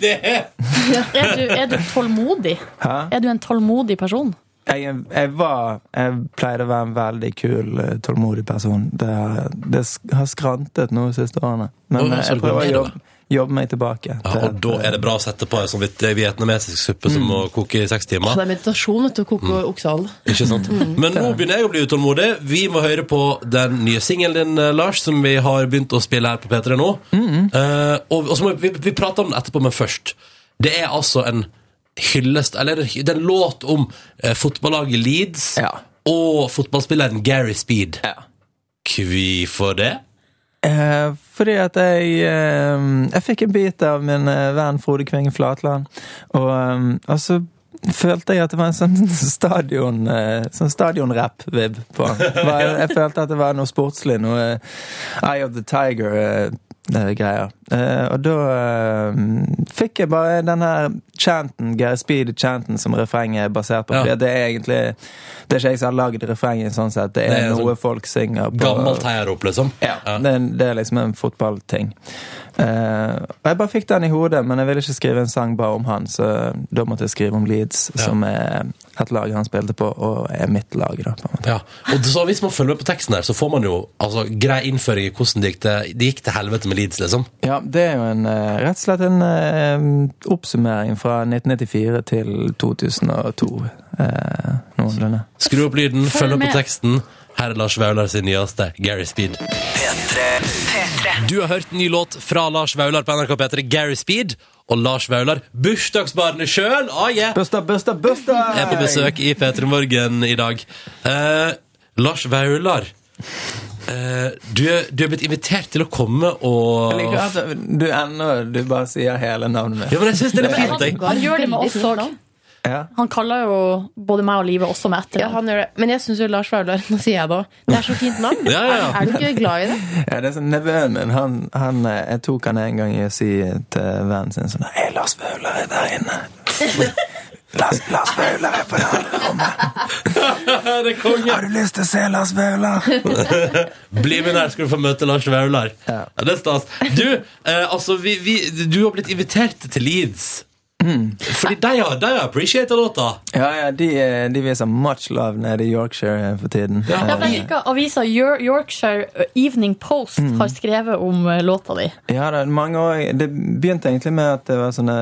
Speaker 1: det er
Speaker 2: Er du, er du tålmodig?
Speaker 6: hæ?
Speaker 2: Er du en tålmodig person?
Speaker 6: Jeg, jeg var Jeg pleide å være en veldig kul, eh, tålmodig person. Det, har- det sk- har skrantet nå de siste årene.
Speaker 1: Å,
Speaker 6: Men
Speaker 1: ja,
Speaker 6: eh,
Speaker 1: så
Speaker 6: jeg
Speaker 1: det går
Speaker 6: prøver å
Speaker 1: nedover.
Speaker 6: jobbe, jobbe meg tilbake.
Speaker 1: ja,
Speaker 6: til
Speaker 1: Og da
Speaker 6: at-
Speaker 1: er det bra å sette på ei sånn vidt- vietnamesisk suppe som må koke i seks timer.
Speaker 3: Så det er meditasjon vet du, å koke oksehale.
Speaker 1: Ikke sant?
Speaker 6: Mm.
Speaker 1: Men nå begynner jeg å bli utålmodig. Vi må høre på den nye singelen din, eh, Lars, som vi har begynt å spille her på P3 nå. Eh, og, og så må vi, vi, vi prate om den etterpå, men først. Det er altså en hyllest Eller det er en låt om eh, fotballaget Leeds
Speaker 6: Ja.
Speaker 1: og fotballspilleren Gary Speed.
Speaker 6: Ja.
Speaker 1: Hvorfor det?
Speaker 6: Eh, fordi at jeg eh, Jeg fikk en bit av min eh, venn Frode Kvingen Flatland, og, eh, og så følte jeg at det var en sånn <laughs> stadion eh, Sånn stadionrapp-vib på han. Det
Speaker 1: <laughs>
Speaker 6: var- Jeg, jeg følte at det var noe sportslig, noe eh, Eye of the eh, Tiger-greier. og da eh, fikk jeg bare den her chanten, Gary Speed-chanten, som refrenget er basert på.
Speaker 1: Ja.
Speaker 6: Fordi at det er egentlig Det er ikke jeg som har lagd refrenget, sånn sett. Det er,
Speaker 1: Det er
Speaker 6: noe folk synger på.
Speaker 1: Gammelt heiarop, liksom?
Speaker 6: Ja, Det, er, det er liksom en fotballting. Eh, og jeg bare fikk den i hodet, men jeg ville ikke skrive en sang bare om han, så da måtte jeg skrive om Leeds, som er et lag han spilte på, og er mitt lag, da. På en måte.
Speaker 1: Ja, og så Hvis man følger med på teksten, her så får man jo altså, grei innføring i hvordan det gikk til, det gikk til helvete med Leeds. liksom
Speaker 6: Ja, det er jo en, eh, rett og slett en eh, oppsummering fra 1994 til 2002, eh, noenlunde.
Speaker 1: Skru opp lyden,
Speaker 2: Følg
Speaker 1: følg med
Speaker 2: med.
Speaker 1: på teksten. Her er Lars Vaular sin nyeste, Gary Speed. Du har hørt ny låt fra Lars Vaular på NRK P3, Gary Speed. Og Lars Vaular, bursdagsbarnet sjøl, ah, yeah,
Speaker 6: Busta, busta, busta!
Speaker 1: er på besøk i P3 Morgen i dag. Eh, Lars Vaular, eh, du, er, du er blitt invitert til å komme og
Speaker 6: Jeg liker at du ender Du bare sier hele navnet
Speaker 1: Ja,
Speaker 6: mitt.
Speaker 1: men jeg syns det er
Speaker 2: Han,
Speaker 1: fint, jeg.
Speaker 2: han gjør det med oss òg.
Speaker 6: Ja.
Speaker 2: Han kaller jo både meg og livet også med
Speaker 3: Ja,
Speaker 2: etternavn.
Speaker 3: han gjør det. Men jeg syns jo Lars Vaular Nå sier jeg det òg. Det er så fint navn.
Speaker 1: Ja, ja, ja.
Speaker 3: Er du ikke glad i det?
Speaker 6: Ja, det er sånn, Nevøen min, han, han, eh, jeg tok han en gang i å si til vennen sin sånn Hei, Lars Vaular er der inne. <laughs> Lars, Lars Vaular er på det andre rommet.
Speaker 1: <laughs> Det er konge.
Speaker 6: Har du lyst til å se Lars Vaular?
Speaker 1: Bli med der, skal du få møte Lars Vaular. Ja. Det er stas. Du, eh, altså, vi, vi, du har blitt invitert til Leeds.
Speaker 6: Mm.
Speaker 1: Fordi de har, de har appreciata låta.
Speaker 6: Ja, ja, de, eh, de viser much love nede i Yorkshire for tiden. Eh,
Speaker 1: Ja.
Speaker 2: Ja, for jeg liker Avisa Yor- Yorkshire eh, Evening Post har skrevet om eh, låta di.
Speaker 6: Ja, det, mange år, det begynte egentlig med at det var sånne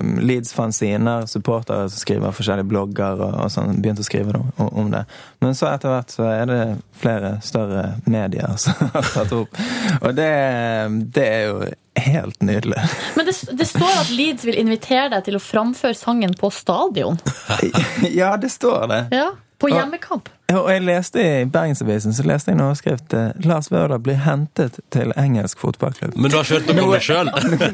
Speaker 6: um, Leeds-fanziner, supportere som skriver forskjellige blogger og, og sånn, begynte å skrive om, om det. Men så etter hvert så er det flere større medier som <laughs> har tatt opp. Og det, um, det er jo helt
Speaker 3: <laughs>
Speaker 6: nydelig.
Speaker 2: Men det, det står at Leeds vil invitere deg til å framføre sangen på stadion.
Speaker 6: Ja, det står det.
Speaker 2: Ja, På hjemmekamp.
Speaker 6: Og jeg leste i Bergensavisen så leste jeg en overskrift eh, 'Lars Vaular blir hentet til engelsk fotballklubb'.
Speaker 1: Men du har ikke hørt noe om det sjøl.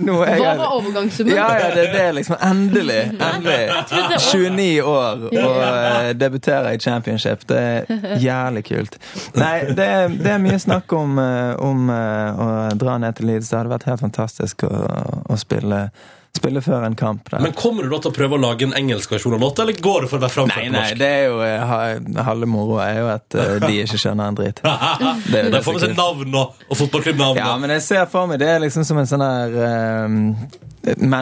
Speaker 6: Noe jeg-
Speaker 3: Hva var overgangssummen?
Speaker 6: Ja, ja, det, det er liksom endelig. Endelig. 29 år og eh, debuterer i championship. Det er jævlig kult. Nei, det er, det er mye snakk om, eh, om eh, å dra ned til Leeds. Det hadde vært helt fantastisk å, å spille, spille før en kamp. Der.
Speaker 1: <laughs> Men kommer du da til å prøve å lage en engelsk versjon av låta, eller går du for å være framført
Speaker 6: Nei,
Speaker 1: på
Speaker 6: nei,
Speaker 1: norsk? <laughs>
Speaker 6: det er jo eh, ha- halve moroa er jo at eh, de ikke skjønner en drit. Det er jo
Speaker 1: Da
Speaker 6: det
Speaker 1: får vi
Speaker 6: som
Speaker 1: se
Speaker 6: er kult.
Speaker 1: navn og, og fotballklubbnavn.
Speaker 6: Ja,
Speaker 1: og-
Speaker 6: men jeg ser for meg det er liksom som en sånn her eh,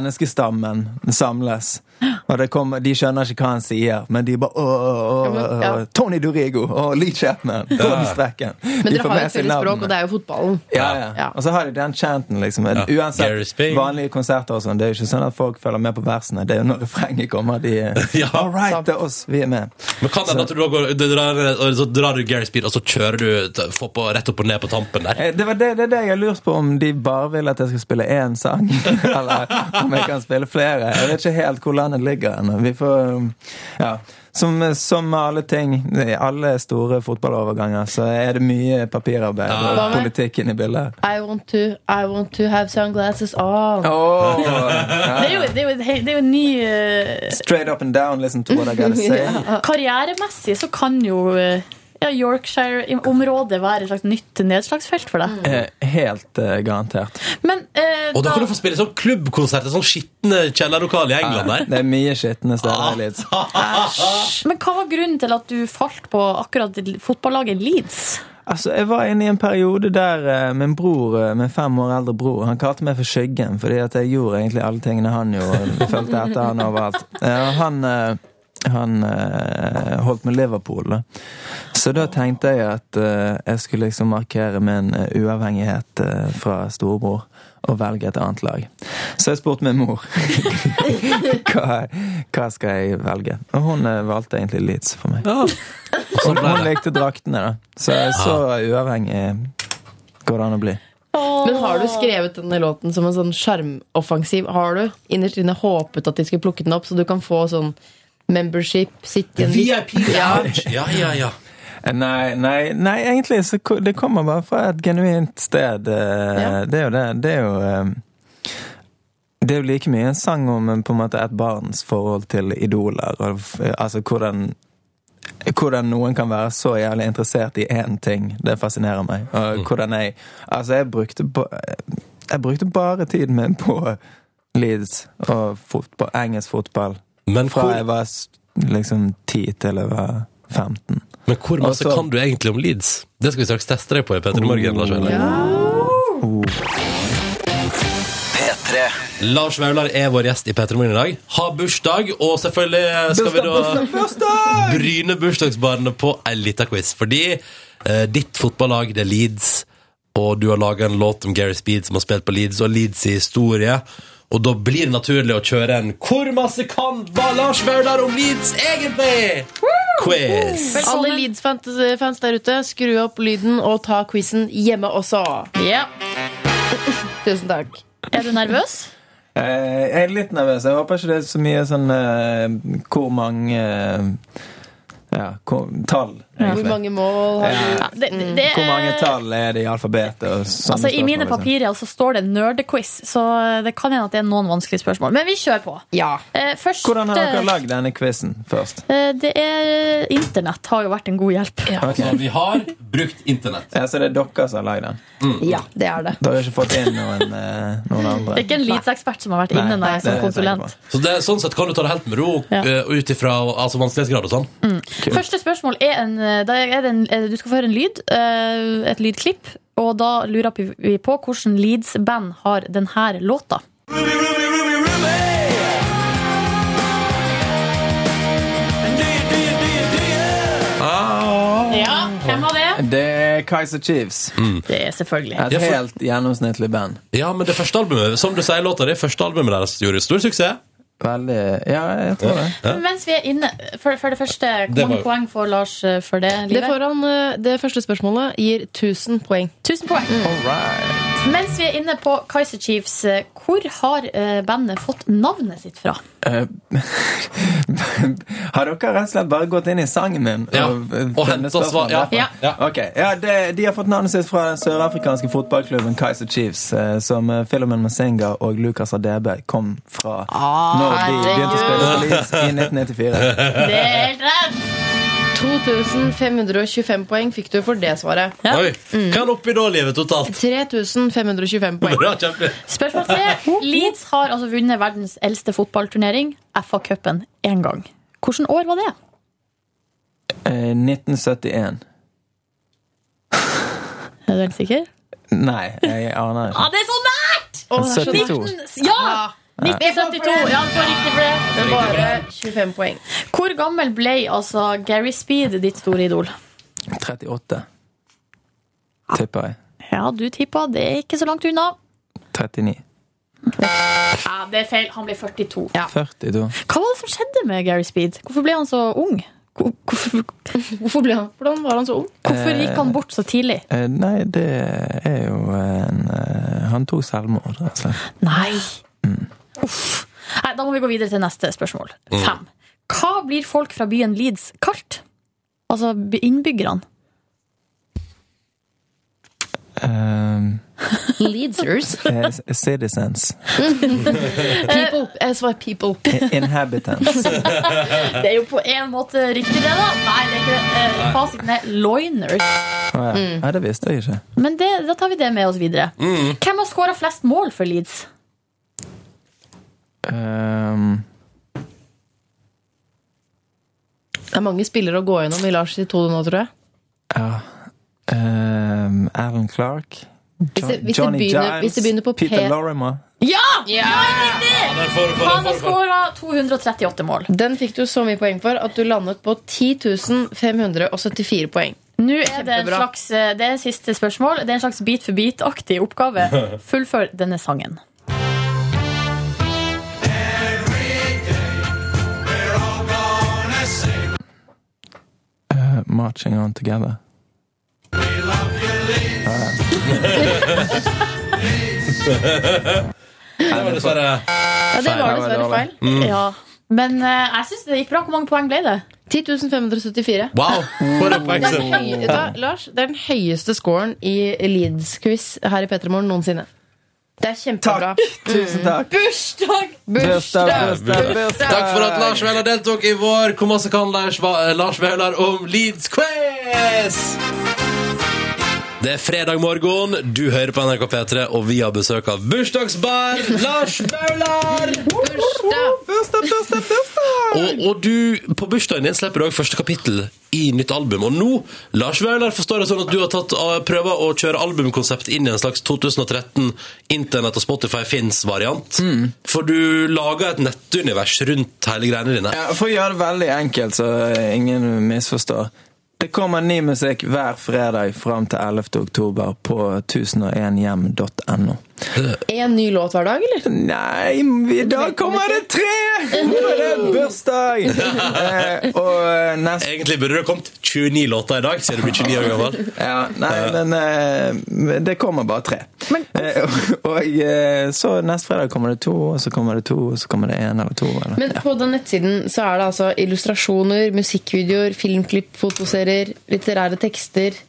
Speaker 6: menneskestammen samles. Og det kommer, de skjønner ikke hva han sier, men de bare åh, åh,
Speaker 3: Ja, men- ja.
Speaker 6: åh, Tony Dorigo og Lee Chapman! Gordon Strachan.
Speaker 3: Men
Speaker 6: De
Speaker 3: dere har
Speaker 6: får
Speaker 3: jo
Speaker 6: med
Speaker 3: et
Speaker 6: seg
Speaker 3: felles språk,
Speaker 6: navnene.
Speaker 3: og det er jo fotballen.
Speaker 6: Ja, ja.
Speaker 3: Ja.
Speaker 6: Og så har de den chanten, liksom. Men
Speaker 1: Ja. Gary
Speaker 6: Uansett,
Speaker 1: Spink.
Speaker 6: vanlige konserter og sånn, det er jo ikke sånn at folk følger med på versene. Det er jo når refrenget kommer,
Speaker 1: <laughs>
Speaker 6: de
Speaker 1: <laughs> Ja.
Speaker 6: All right, det er oss, vi er med.
Speaker 1: Men kan det hende at du da går, du drar, og så drar du Gary Speed, og så kjører du t- får på, rett opp og ned på tampen der?
Speaker 6: Eh, Det var det, det, er det jeg har lurt på, om de bare vil at jeg skal spille én sang. <laughs> Eller om jeg kan spille flere. Jeg vet ikke helt hvor landet ligger ennå. Vi får um, Ja. Som, som med alle ting, i alle store fotballoverganger, så er det mye papirarbeid og
Speaker 3: Ja.
Speaker 6: politikk inne i bildet.
Speaker 3: I want to, I want to have sunglasses on.
Speaker 6: Oh,
Speaker 2: Det er jo, det er jo, det er jo en ny eh,
Speaker 6: straight up and down, listen to what I
Speaker 2: <laughs>
Speaker 6: gotta say.
Speaker 2: Karrieremessig så kan jo eh, ja, Yorkshire-området være et slags nytt nedslagsfelt for deg.
Speaker 6: Eh, Helt eh, garantert.
Speaker 2: Men eh,
Speaker 1: Og da
Speaker 2: da,
Speaker 1: kan du få spille sånn klubbkonsert, en sånn skitne kjellerlokal i England der.
Speaker 6: Det er mye skitne steder i Leeds.
Speaker 2: men hva var grunnen til at du falt på akkurat fotballaget Leeds?
Speaker 6: Altså, Jeg var inne i en periode der eh, min bror, eh, min fem år eldre bror, han kalte meg for Skyggen, fordi at jeg gjorde egentlig alle tingene han gjorde. <laughs> Fulgte etter han overalt. Eh, og Han, eh, han eh, holdt med Liverpool, da. Så da tenkte jeg at eh, jeg skulle liksom markere min eh, uavhengighet eh, fra storebror. Og velge et annet lag. Så jeg spurte min mor <laughs> hva, hva skal jeg velge. Og hun eh, valgte egentlig Leeds for meg. Hun, hun likte draktene, da. Så jeg så uavhengig går det an å bli.
Speaker 3: Men har du skrevet denne låten som en sånn sjarmoffensiv? Har du innerst inne håpet at de skulle plukke den opp, så du kan få sånn membership? Sitte i en
Speaker 1: VIP lounge! Ja, ja, ja.
Speaker 6: Eh, Nei, nei, nei egentlig så ko- det kommer bare fra et genuint sted. eh,
Speaker 3: Ja.
Speaker 6: Det er jo det. Det er jo eh, det er jo like mye en sang om eh, på en måte et barns forhold til idoler. Og, f- altså hvordan hvordan noen kan være så jævlig interessert i én ting. Det fascinerer meg. Og hvordan jeg Altså, jeg brukte, ba- jeg brukte bare tiden min på Leeds og fotball, engelsk fotball.
Speaker 1: Men
Speaker 6: Fra
Speaker 1: Mm. hvor,
Speaker 6: jeg var s- liksom 10 til jeg var 15.
Speaker 1: men hvor masse
Speaker 6: Altså-
Speaker 1: kan du egentlig om Leeds? Det skal vi straks teste deg på i Petter Morgen. Lars Vaular.
Speaker 5: P3
Speaker 1: Lars Vaular er vår gjest i Petter Morgen i dag. Har bursdag, og selvfølgelig skal vi da bryne bursdagsbarnet på ei lita quiz. Fordi eh, ditt fotballag, det er Leeds, og du har laga en låt om Gary Speed som har spilt på Leeds, og Leeds' historie. Og da blir det naturlig å kjøre en 'Hvor masse kan hva Lars Vaular om Leeds egentlig?' quiz.
Speaker 3: Alle Leeds-fans der ute, skru opp lyden og ta quizen hjemme også.
Speaker 2: Ja.
Speaker 3: Tusen takk.
Speaker 2: Er du nervøs?
Speaker 6: Eh, Jeg er litt nervøs. Jeg håper ikke det er så mye sånn eh, Hvor mange eh, Ja, hvor, tall,
Speaker 3: Hvor
Speaker 6: egentlig.
Speaker 3: mange mål har du?
Speaker 2: Ja, det, det, det,
Speaker 6: Hvor mange
Speaker 2: er-
Speaker 6: tall er det i alfabetet? Og sånne
Speaker 2: Altså, I
Speaker 6: spørsmål,
Speaker 2: mine
Speaker 6: liksom.
Speaker 2: papirer så står det nerdequiz, så eh, det kan hende at det er noen vanskelige spørsmål. Men vi kjører på.
Speaker 3: Ja.
Speaker 2: Eh, Første,
Speaker 6: Hvordan har dere lagd denne quizen først?
Speaker 2: Eh, Det er Internett har jo vært en god hjelp.
Speaker 1: Så vi har brukt internett.
Speaker 6: Ja, så det er dere som har lagd den?
Speaker 3: ja, det er det.
Speaker 6: Dere har ikke fått inn noen, eh,
Speaker 3: <laughs>
Speaker 6: noen andre?
Speaker 2: Det er ikke en Leeds-ekspert som har vært inne nei,
Speaker 6: det
Speaker 2: som
Speaker 6: er jeg sikker
Speaker 2: konsulent.
Speaker 6: på.
Speaker 1: Så det, sånn sett kan du ta det helt med ro
Speaker 2: Ja.
Speaker 1: eh, ut ifra altså, vanskelighetsgrad og sånn.
Speaker 2: Første spørsmål er en, eh, da er det en eh, Du skal få høre en lyd, eh, et lydklipp, og da lurer vi på hvordan Leeds-band har denne låta. Ja, hvem var det?
Speaker 6: Det er Kaiser Chiefs.
Speaker 2: Det er selvfølgelig.
Speaker 6: Et
Speaker 1: Ja, for-
Speaker 6: helt gjennomsnittlig band.
Speaker 1: Ja, men det første albumet Som du sier, låta di, første albumet deres gjorde stor suksess.
Speaker 6: Veldig Ja, jeg tror det.
Speaker 2: Men Mens vi er inne, for, for det første,
Speaker 1: Det
Speaker 2: hvor
Speaker 1: var
Speaker 2: mange
Speaker 1: jo-
Speaker 2: poeng får Lars eh, for det?
Speaker 3: Det,
Speaker 2: Livet?
Speaker 3: foran, eh, det første spørsmålet gir 1000 poeng.
Speaker 2: 1000 poeng.
Speaker 6: All right.
Speaker 2: Mm. Mens vi er inne på Kaiser Chiefs, eh, hvor har eh, bandet fått navnet sitt
Speaker 1: <laughs>
Speaker 2: fra?
Speaker 6: Eh, <laughs> har dere rett og slett bare gått inn i sangen min?
Speaker 1: Ja,
Speaker 6: eh,
Speaker 1: og
Speaker 6: funnet
Speaker 1: hentet svar,
Speaker 6: spørsmål
Speaker 1: ja,
Speaker 6: derfra?
Speaker 1: ja.
Speaker 6: Ok, ja det, De har fått navnet sitt fra den sørafrikanske fotballklubben Kaiser Chiefs, eh, som eh, Philemon Masenga og Lucas Adebe kom fra
Speaker 2: Ah,
Speaker 6: når de begynte å spille for Leeds i
Speaker 1: <laughs>
Speaker 6: 1994.
Speaker 2: Det er helt rett!
Speaker 3: 2525 poeng fikk du for det svaret.
Speaker 2: Ja.
Speaker 1: Oi, Hva er den oppi da, livet totalt? <laughs>
Speaker 3: 3525 poeng.
Speaker 1: Bra, kjempe.
Speaker 2: Spørsmål tre. Leeds har altså vunnet verdens eldste fotballturnering, FA-cupen, én gang. Hvilket år var det?
Speaker 6: Eh, 1971.
Speaker 2: Er du helt sikker?
Speaker 6: Nei, jeg aner
Speaker 2: Ja,
Speaker 6: ikke.
Speaker 2: det er så nært!
Speaker 6: 72.
Speaker 2: 19... Ja! 1972. Ja, du får riktig for det. det er bare.
Speaker 3: 25 poeng.
Speaker 2: Hvor gammel ble altså Gary Speed ditt store idol?
Speaker 6: 38, tipper jeg.
Speaker 2: Ja, du tippa. Det er ikke så langt unna.
Speaker 6: 39.
Speaker 2: Ja, det er feil. Han ble 42.
Speaker 6: 42.
Speaker 2: Hva var det som skjedde med Gary Speed? Hvorfor ble han så ung? Hvor- Hvorfor, hvorfor, ble han,
Speaker 3: Hvordan var han så ung?
Speaker 2: hvorfor gikk han bort så tidlig?
Speaker 6: Eh, Nei, det er jo en eh, Han tok selvmord, rett og slett.
Speaker 2: Nei. Mm. Uff. Nei, da må vi gå videre til neste spørsmål. Fem. Hva blir folk fra byen Leeds kalt? Altså by- innbyggerne.
Speaker 6: Eh,
Speaker 3: Leadsers.
Speaker 6: eh, s- citizens.
Speaker 3: People. Jeg svarer eh, people.
Speaker 6: I-
Speaker 3: <laughs>
Speaker 6: Inhabitants.
Speaker 2: Det er jo på en måte riktig, det, da. Nei, det er ikke det. Eh, Fasiten er loiners.
Speaker 6: Å ja.
Speaker 3: Mm.
Speaker 6: ja, det visste jeg ikke.
Speaker 2: Men det, da tar vi det med oss videre. Hvem har skåra flest mål for Leeds?
Speaker 6: Ehm,
Speaker 3: Det er mange spillere å gå gjennom i Lars sitt hode nå, tror jeg.
Speaker 6: ja. Ehm, Alan Clark.
Speaker 3: Hvis det- hvis det begynner- hvis det begynner på P-
Speaker 6: Peter Lorimer.
Speaker 2: Ja! Han har skåra 238 mål.
Speaker 3: Den fikk du så mye poeng for at du landet på 10 574 poeng.
Speaker 2: Nå er det en
Speaker 3: Kjempebra.
Speaker 2: slags, eh, det er siste spørsmål. Det er en slags bit for bit-aktig oppgave. Fullfør denne sangen.
Speaker 6: Eh, marching on together.
Speaker 3: Mm.
Speaker 1: Det var dessverre
Speaker 3: Ja, det var
Speaker 6: Ja, det
Speaker 3: dessverre
Speaker 6: var det.
Speaker 3: feil.
Speaker 2: Ja. Men eh, jeg syns det gikk bra. Hvor mange poeng ble det?
Speaker 3: 10 574.
Speaker 1: Wow! For en
Speaker 3: Det er den
Speaker 1: poengsum.
Speaker 3: høy- Vet du hva, Lars, det er den høyeste scoren i Leeds-quiz her i Petremorgen noensinne. Det er kjempebra.
Speaker 6: Tusen takk.
Speaker 3: Bursdag! Bursdag!
Speaker 6: Bursdag, bursdag, bursdag.
Speaker 1: Takk for at Lars Vaular deltok i vår Hvor masse kan Lars, Va- eh, Lars Vaular om Leeds Quiz? Det er fredag morgen, du hører på NRK P3, og vi har besøk av bursdagsbarn Lars Vaular!
Speaker 6: Bursdag, bursdag, bursdag.
Speaker 1: Og, og du, på bursdagen din slipper du også første kapittel i nytt album. Og nå, Lars Vaular, forstår jeg sånn at du har tatt ah, prøver å kjøre albumkonsept inn i en slags 2013 Internett og Spotify fins-variant. For du lager et nettunivers rundt hele greiene dine.
Speaker 6: Ja, For å gjøre det veldig enkelt, så ingen misforstår. Det kommer ny musikk hver fredag fram til 11. oktober på 1001hjem.no.
Speaker 3: En ny låt hver dag, eller?
Speaker 6: Nei, i dag kommer det tre! Nå er det bursdag! Eh, og neste
Speaker 1: Egentlig burde det kommet 29 låter i dag, siden du blir 29 år gammel.
Speaker 6: ja, Nei, men eh, det kommer bare tre. Eh, og- og eh, så neste fredag kommer det to, og så kommer det to, og så kommer det én eller to. Eller.
Speaker 3: Men på den nettsiden så er det altså illustrasjoner, musikkvideoer, filmklipp, fotoserier, litterære tekster.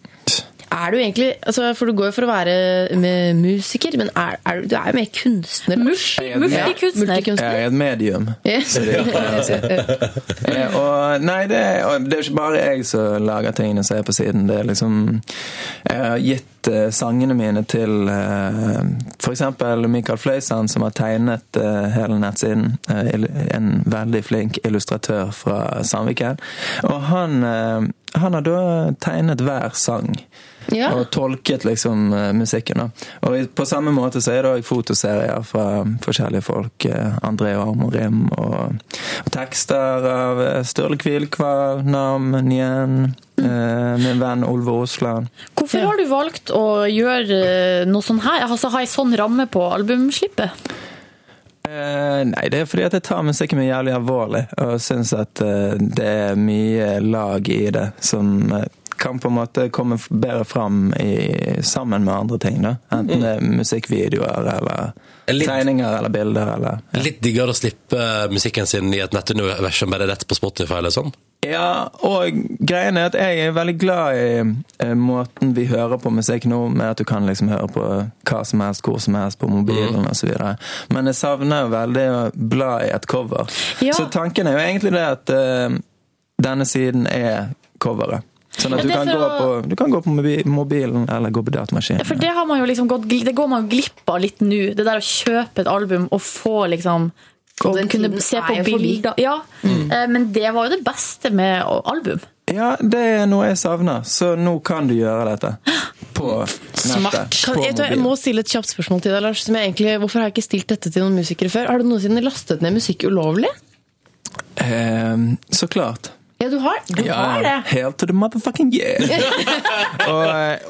Speaker 3: Er du egentlig altså, For du går jo for å være med musiker, men er, er du, du er jo mer kunstner.
Speaker 2: Multi- Multikunstner.
Speaker 3: Multikunstner.
Speaker 6: Jeg er et medium.
Speaker 3: Yes.
Speaker 6: Eh, og nei, det, og det er ikke bare jeg som lager tingene som er på siden. Det er liksom Jeg har gitt eh, sangene mine til eh, f.eks. Michael Fløysand, som har tegnet eh, hele nettsiden. Eh, ill- en veldig flink illustratør fra Sandviken. Og han, eh, han har da tegnet hver sang.
Speaker 3: <laughs> Ja.
Speaker 6: Og tolket liksom eh, musikken. da. Og i- på samme måte så er det òg fotoserier fra forskjellige folk. eh, André Arm og Rim, og, og tekster av eh, Sturle Kvilkvall, Nam Nyen, eh, min venn Olve Osland.
Speaker 2: Hvorfor har du valgt å gjøre eh, noe sånn her? Altså ha ei sånn ramme på albumslippet?
Speaker 6: Eh, nei, det er fordi at jeg tar musikken min jævlig alvorlig, og syns at eh, det er mye lag i det som eh, kan på en måte komme f- bedre fram i, sammen med andre ting. da. Enten det er musikkvideoer eller
Speaker 1: En litt-
Speaker 6: tegninger eller bilder eller
Speaker 1: <laughs> Litt diggere å slippe eh, musikken sin i et nettunivers som bare er rett på Spotify. eller sånn.
Speaker 6: Ja, og greien er at jeg er veldig glad i eh, måten vi hører på musikk nå, med at du kan liksom høre på hva som helst, hvor som helst, på mobilen og så videre. Men jeg savner jo veldig å bla i et cover.
Speaker 2: Ja.
Speaker 6: Så tanken er jo egentlig det at eh, denne siden er coveret. Sånn at
Speaker 2: Men
Speaker 6: du
Speaker 2: det
Speaker 6: kan,
Speaker 2: for
Speaker 6: gå
Speaker 2: å-
Speaker 6: på, du kan gå på mobi- mobilen eller gå på datamaskinen.
Speaker 2: For det, har man jo liksom gått, gl- det går man jo glipp av litt nå. Det der å kjøpe et album og få liksom
Speaker 3: Og
Speaker 2: og
Speaker 3: den
Speaker 2: kunne
Speaker 3: tiden
Speaker 2: se på
Speaker 3: er jo forbi.
Speaker 2: bilder. Ja, eh, Men det var jo det beste med album.
Speaker 6: Ja, det er noe jeg savner, så nå kan du gjøre dette. På
Speaker 2: <gasps>
Speaker 6: på nettet.
Speaker 3: Kan,
Speaker 6: på
Speaker 3: jeg, tror jeg
Speaker 6: mobilen.
Speaker 3: må stille et kjapt spørsmål til deg, Lars. Som jeg egentlig, hvorfor har jeg ikke stilt dette til noen musikere før? Har du noensinne lastet ned musikk ulovlig?
Speaker 6: Ehm, så klart.
Speaker 3: Ja, du har, du har det.
Speaker 6: Hail to the
Speaker 2: <laughs>
Speaker 6: motherfucking yeah!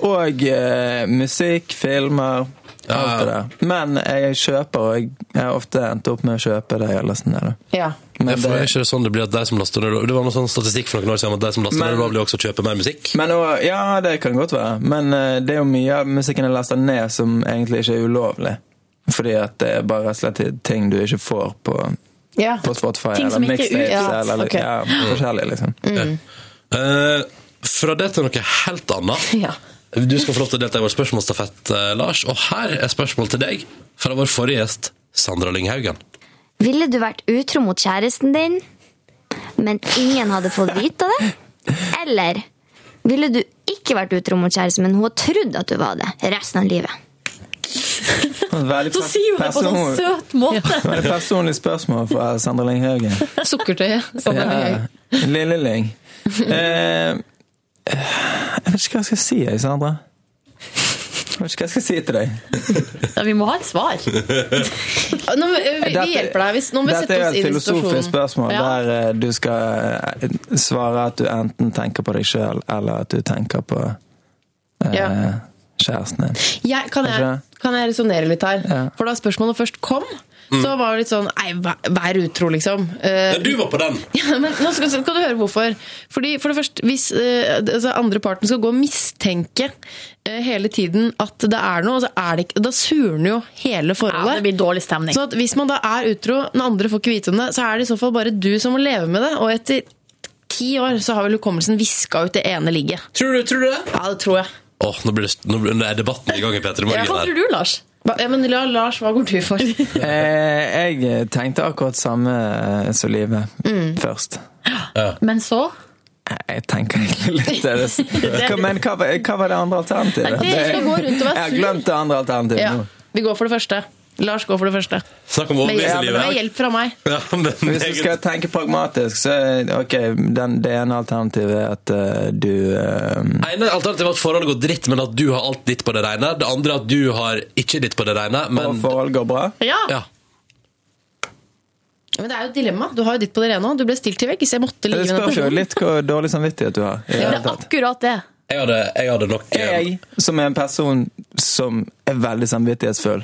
Speaker 6: og og eh, musikk, filmer, alt det der. Men jeg kjøper, og jeg jeg har ofte endt opp med å kjøpe det jeg laster ned. da.
Speaker 3: Ja.
Speaker 1: Ja,
Speaker 6: Men,
Speaker 1: for er
Speaker 6: det,
Speaker 1: ikke det sånn det blir at de som laster ned Det var noe sånn statistikk for noen år siden om at de som laster ned
Speaker 6: Men-
Speaker 1: ulovlig, også kjøper mer musikk.
Speaker 6: men og, ja, det kan godt være. Men eh, det er jo mye av musikken jeg laster ned, som egentlig ikke er ulovlig. Fordi at det er bare rett og slett ting du ikke får på,
Speaker 3: ja.
Speaker 6: på Spotify
Speaker 2: Ting
Speaker 6: eller
Speaker 2: som ikke er
Speaker 6: mixtapes.
Speaker 3: utgitt.
Speaker 6: Eller,
Speaker 3: Ok.
Speaker 6: ja, forskjellig, liksom.
Speaker 1: Eh, fra det til noe helt annet.
Speaker 3: Ja.
Speaker 1: Du skal få lov til å delta i vår spørsmålsstafett, eh, Lars. Og her er spørsmål til deg fra vår forrige gjest, Sandra Lynghaugen.
Speaker 7: Ville du vært utro mot kjæresten din, men ingen hadde fått vite det? Eller ville du ikke vært utro mot kjæresten, men hun har trodd at du var det resten av livet?
Speaker 6: Veldig
Speaker 2: Så sier hun det på sånn
Speaker 6: person-
Speaker 2: søt måte.
Speaker 6: veldig personlig spørsmål fra Sandra Lynghaugen.
Speaker 3: Sukkertøyet. Så det er gøy.
Speaker 6: Ja. Lille
Speaker 3: <laughs>
Speaker 6: Lyng. Eh, jeg vet ikke hva jeg skal si, jeg, Sandra. Jeg vet ikke hva jeg skal si til deg.
Speaker 2: Ja, vi må ha et svar.
Speaker 3: Nå, vi, vi hjelper deg. Hvis, nå må vi
Speaker 6: Dette
Speaker 3: sette
Speaker 6: er
Speaker 3: oss inn
Speaker 6: et
Speaker 3: i
Speaker 6: filosofisk
Speaker 3: situasjonen.
Speaker 6: spørsmål
Speaker 2: Ja.
Speaker 6: der eh, du skal eh, svare at du enten tenker på deg sjøl, eller at du tenker på eh,
Speaker 3: Ja.
Speaker 6: kjæresten din.
Speaker 3: Jeg, kan jeg,
Speaker 6: Kanskje?
Speaker 3: kan jeg resonnere litt her?
Speaker 6: Ja.
Speaker 3: For da spørsmålet først kom, så var det litt sånn Nei, vær- vær utro, liksom. Eh, <laughs>
Speaker 1: Ja, du var på den!
Speaker 3: Ja, men nå skal, skal du høre hvorfor. Fordi for det første, Hvis eh, altså andre parten skal gå og mistenke eh, hele tiden at det er noe, og så er det ikke, da surner jo hele
Speaker 2: Ja, det
Speaker 3: forholdet.
Speaker 2: blir dårlig stemning.
Speaker 3: så at hvis man da er utro, den andre får ikke vite om det, så er det i så fall bare du som må leve med det. Og etter ti år så har vel hukommelsen viska ut det ene ligget.
Speaker 1: Tror du, tror du det?
Speaker 3: Ja, det tror jeg.
Speaker 1: Åh, nå, blir det, nå blir- nå er debatten i gang i P3 Morgen.
Speaker 2: Hva
Speaker 1: her.
Speaker 2: tror du, Lars?
Speaker 3: Hva- Ja, men la- Lars, hva går du <laughs> for?
Speaker 6: Eh, jeg tenkte akkurat samme eh, som Live
Speaker 3: Mm.
Speaker 6: først.
Speaker 2: Men så?
Speaker 6: Nei, Jeg tenker egentlig
Speaker 3: <laughs>
Speaker 6: litt det. Hva- Men hva, var- hva var det andre alternativet?
Speaker 3: Nei, det er ikke å gå rundt og være
Speaker 6: Jeg har
Speaker 3: sur.
Speaker 6: glemt det andre alternativet
Speaker 3: Ja,
Speaker 6: nå.
Speaker 3: vi går for det første. Lars går for det første.
Speaker 1: Snakk om
Speaker 3: Med hjelp, med
Speaker 1: overbevisningslivet.
Speaker 3: hjelp fra meg.
Speaker 1: Ja, men
Speaker 6: Hvis du skal tenke pragmatisk, så er ok, den, det ene alternativet er at eh, du eh,
Speaker 1: ene alternativet er at forholdet går dritt, men at du har alt ditt på det reine. Det andre er at du har ikke ditt på det reine,
Speaker 6: Og
Speaker 1: men
Speaker 6: forhold går bra.
Speaker 2: Ja!
Speaker 1: ja.
Speaker 3: Men det er jo et dilemma. Du har jo ditt på det rene òg. Du ble stilt til veggs. Jeg måtte ligge
Speaker 6: Det
Speaker 3: med den
Speaker 6: spørs jo
Speaker 3: personen.
Speaker 6: litt hvor dårlig samvittighet du har. i det
Speaker 2: Det
Speaker 6: hele
Speaker 2: er
Speaker 6: tatt.
Speaker 2: akkurat det.
Speaker 1: Jeg hadde, jeg hadde nok eh,
Speaker 6: Jeg, som er en person som er veldig samvittighetsfull,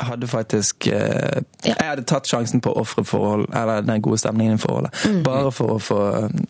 Speaker 6: hadde faktisk eh, Jeg hadde tatt sjansen på å ofre forhold, eller den gode stemningen i forholdet,
Speaker 1: Mm.
Speaker 6: bare for å få